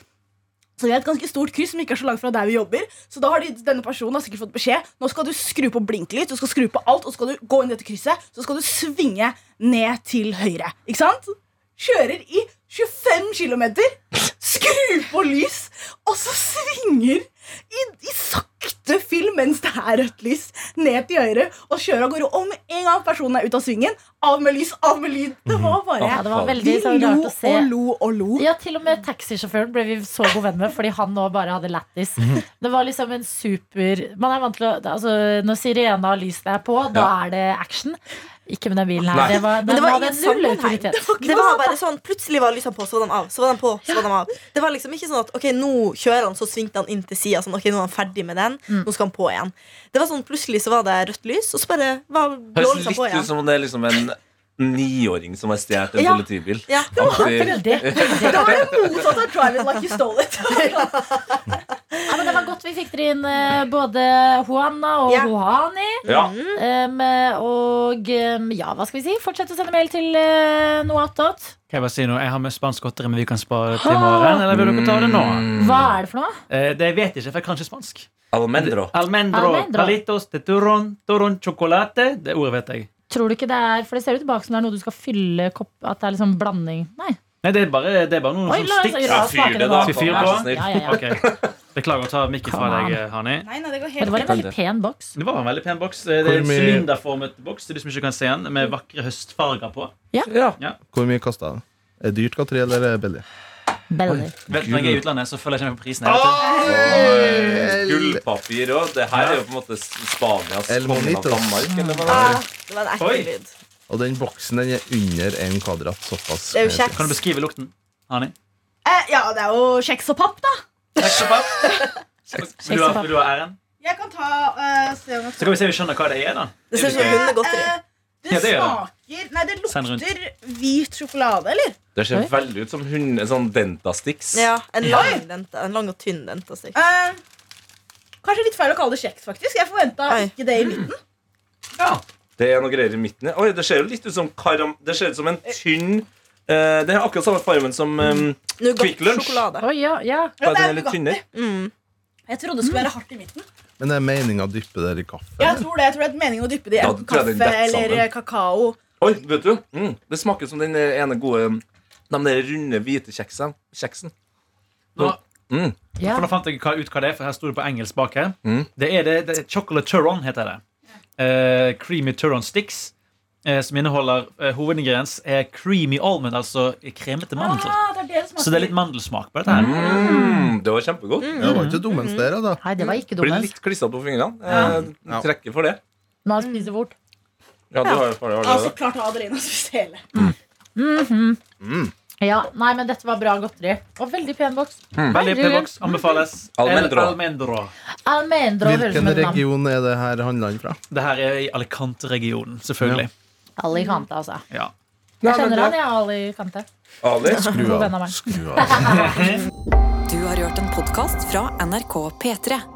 Så vi har et ganske stort kryss som ikke er så langt fra der vi jobber. Så da har de, denne personen har sikkert fått beskjed Nå skal du skru på blinklys, du skal skru på alt, og så skal du gå inn i dette krysset. Så skal du svinge ned til høyre. Ikke sant? Kjører i 25 km, skrur på lys, og så svinger i, i sakte film mens det er er rødt lys, ned til øret og kjører av gårde. Og med en gang personen er ute av svingen, av med lys, av med lyd. Det var bare
Ja, det var veldig så
Vi
rart
lo
å se.
og lo og lo.
Ja, til og med taxisjåføren ble vi så god venn med fordi han nå bare hadde lættis.
Mhm.
Det var liksom en super Man er vant til å altså, Når sirena og lysene er på, da
Ja.
er det action. Ikke med den bilen
Nei.
her. Det var,
Men
den
det var
hadde
ingen
null
sangvogn her.
autoritet.
Det var bare sånn, Plutselig var lysene på, så var de av. Så var de på, så var de av Det var liksom ikke sånn at ok, nå kjører han, så svingte han inn til sida. Sånn, ok, nå er han ferdig med den,
Mm.
nå skal han på igjen. Det var sånn, Plutselig så var det rødt lys, og så bare var blå
Høres
lysene på
litt ut
igjen.
som om det er liksom en niåring som har stjålet en
Ja.
politibil.
Ja.
Aktiv.
Det var det motsatte av Drive It Like You Stole It.
Ja, men det var godt vi fikk dere inn eh, både Juana og Juani.
Ja.
Mm.
Um, og um, ja, hva skal vi si? Fortsett å sende mail til uh, noatot.
Kan jeg bare si noe? Jeg har med spansk godteri, men vi kan spare det til i
Ah.
morgen. Eller vil dere ta det nå?
Mm.
Hva
Mm.
er det for noe?
Eh, Det vet jeg ikke, for jeg kan ikke spansk.
Almendro.
Almendro.
Almendro.
Palitos de turron, turron chocolate. Det ordet vet jeg.
Tror du ikke det er For det ser jo tilbake som det er noe du skal fylle kopp At det er liksom blanding. Nei.
Nei, det er bare, det er bare noen
Oi,
sånn
la oss-
stikk.
la oss smake det nå.
Fyr fyr
Vær så
på?
snill. Ja, ja, ja.
Ok. Beklager å ta mikken fra
Come on.
deg, Hani.
det går
Men det var en veldig pen boks.
Det var en veldig pen boks. Det er en
Hvor mye-
sylinderformet boks det er du som ikke kan se den, med vakre høstfarger på. Ja.
Hvor mye kosta det? Er det dyrt godteri, eller er det billig?
Belly.
Vet du, Når jeg er i utlandet, så følger jeg ikke med på prisen.
Ah!
Gullpapir òg. Det her er jo på en måte Spanias
El
konge av
Monito.
Danmark. Eller hva det
Ah,
er.
det var en ekkel
Oi.
lyd.
Og den boksen den er under en kvadrat. Såpass.
Det er jo kjeks.
Kan du beskrive lukten, Hani?
Eh, ja, det er jo kjeks og papp, da.
Vil du ha, vil du ha æren?
Jeg kan ta eh, se om jeg
Så kan vi se om vi skjønner hva det er, da.
Det ser ut som hundegodteri.
Eh,
Ja,
det
det gjør det.
smaker Nei, det
Send rundt.
lukter hvit sjokolade, eller?
Det ser veldig ut som hunde, sånn Dentastix.
Ja, en
Ja.
lang, denta, en lang og tynn altså. dentastikk.
Eh, kanskje litt feil å kalle det kjeks, faktisk. Jeg forventa
Oi.
ikke det i midten.
Det er noe greier i midten. her. Oi, det ser jo litt ut som karam... Det ser ut som en tynn eh, Det er akkurat samme fargen som um, Quick Lunch.
Nougat-sjokolade.
Oi, ja, ja.
Ja,
Bare
det
den
er
er litt
nougat.
tynnere.
Mm.
Jeg trodde det skulle være hardt i midten.
Men det er meninga å dyppe det i kaffe?
Jeg tror det, jeg tror det er meningen å dyppe det i
Da
enten
tror jeg det
kaffe
detter sammen.
eh,
eller kakao.
Oi, vet du? Mm, det smaker som den eh, ene gode De der runde, hvite kjeksen. kjeksen.
Nå,
Mm.
Ja.
for nå fant jeg hva- ut hva det er, for her sto det på engelsk bak her.
Mm.
Det er det, det er Chocolate Turon, heter det. Eh, creamy Turon Sticks, eh, som inneholder uh, hovedingrediens er creamy almond, altså kremete mandel.
Ah, det er det det
Så det er
smaker.
litt mandelsmak på dette her.
Mm, det var kjempegodt.
Det var ikke dummens dere, da.
Mm.
Nei, det var ikke
Blir
dumt.
litt klissete på fingrene. Eh,
Ja.
Trekker for det.
Man spiser fort.
Ja, du har jo farlig
Altså,
allerede.
klart Adelina spiste hele.
Mhm.
Mm.
Ja, nei, men dette var bra godteri. Og veldig pen boks.
Veldig pen boks, Anbefales. El
Almendro.
Almendro.
Almendro høres
Hvilken
som et navn.
region er det her handla inn fra?
Det her er i Alicante-regionen, selvfølgelig.
Alicante, altså.
Ja.
Jeg kjenner han, jeg, Alicante.
Ali?
Skru
God venn av
av.
meg.
Skru av.
Du har hørt en podkast fra NRK P3.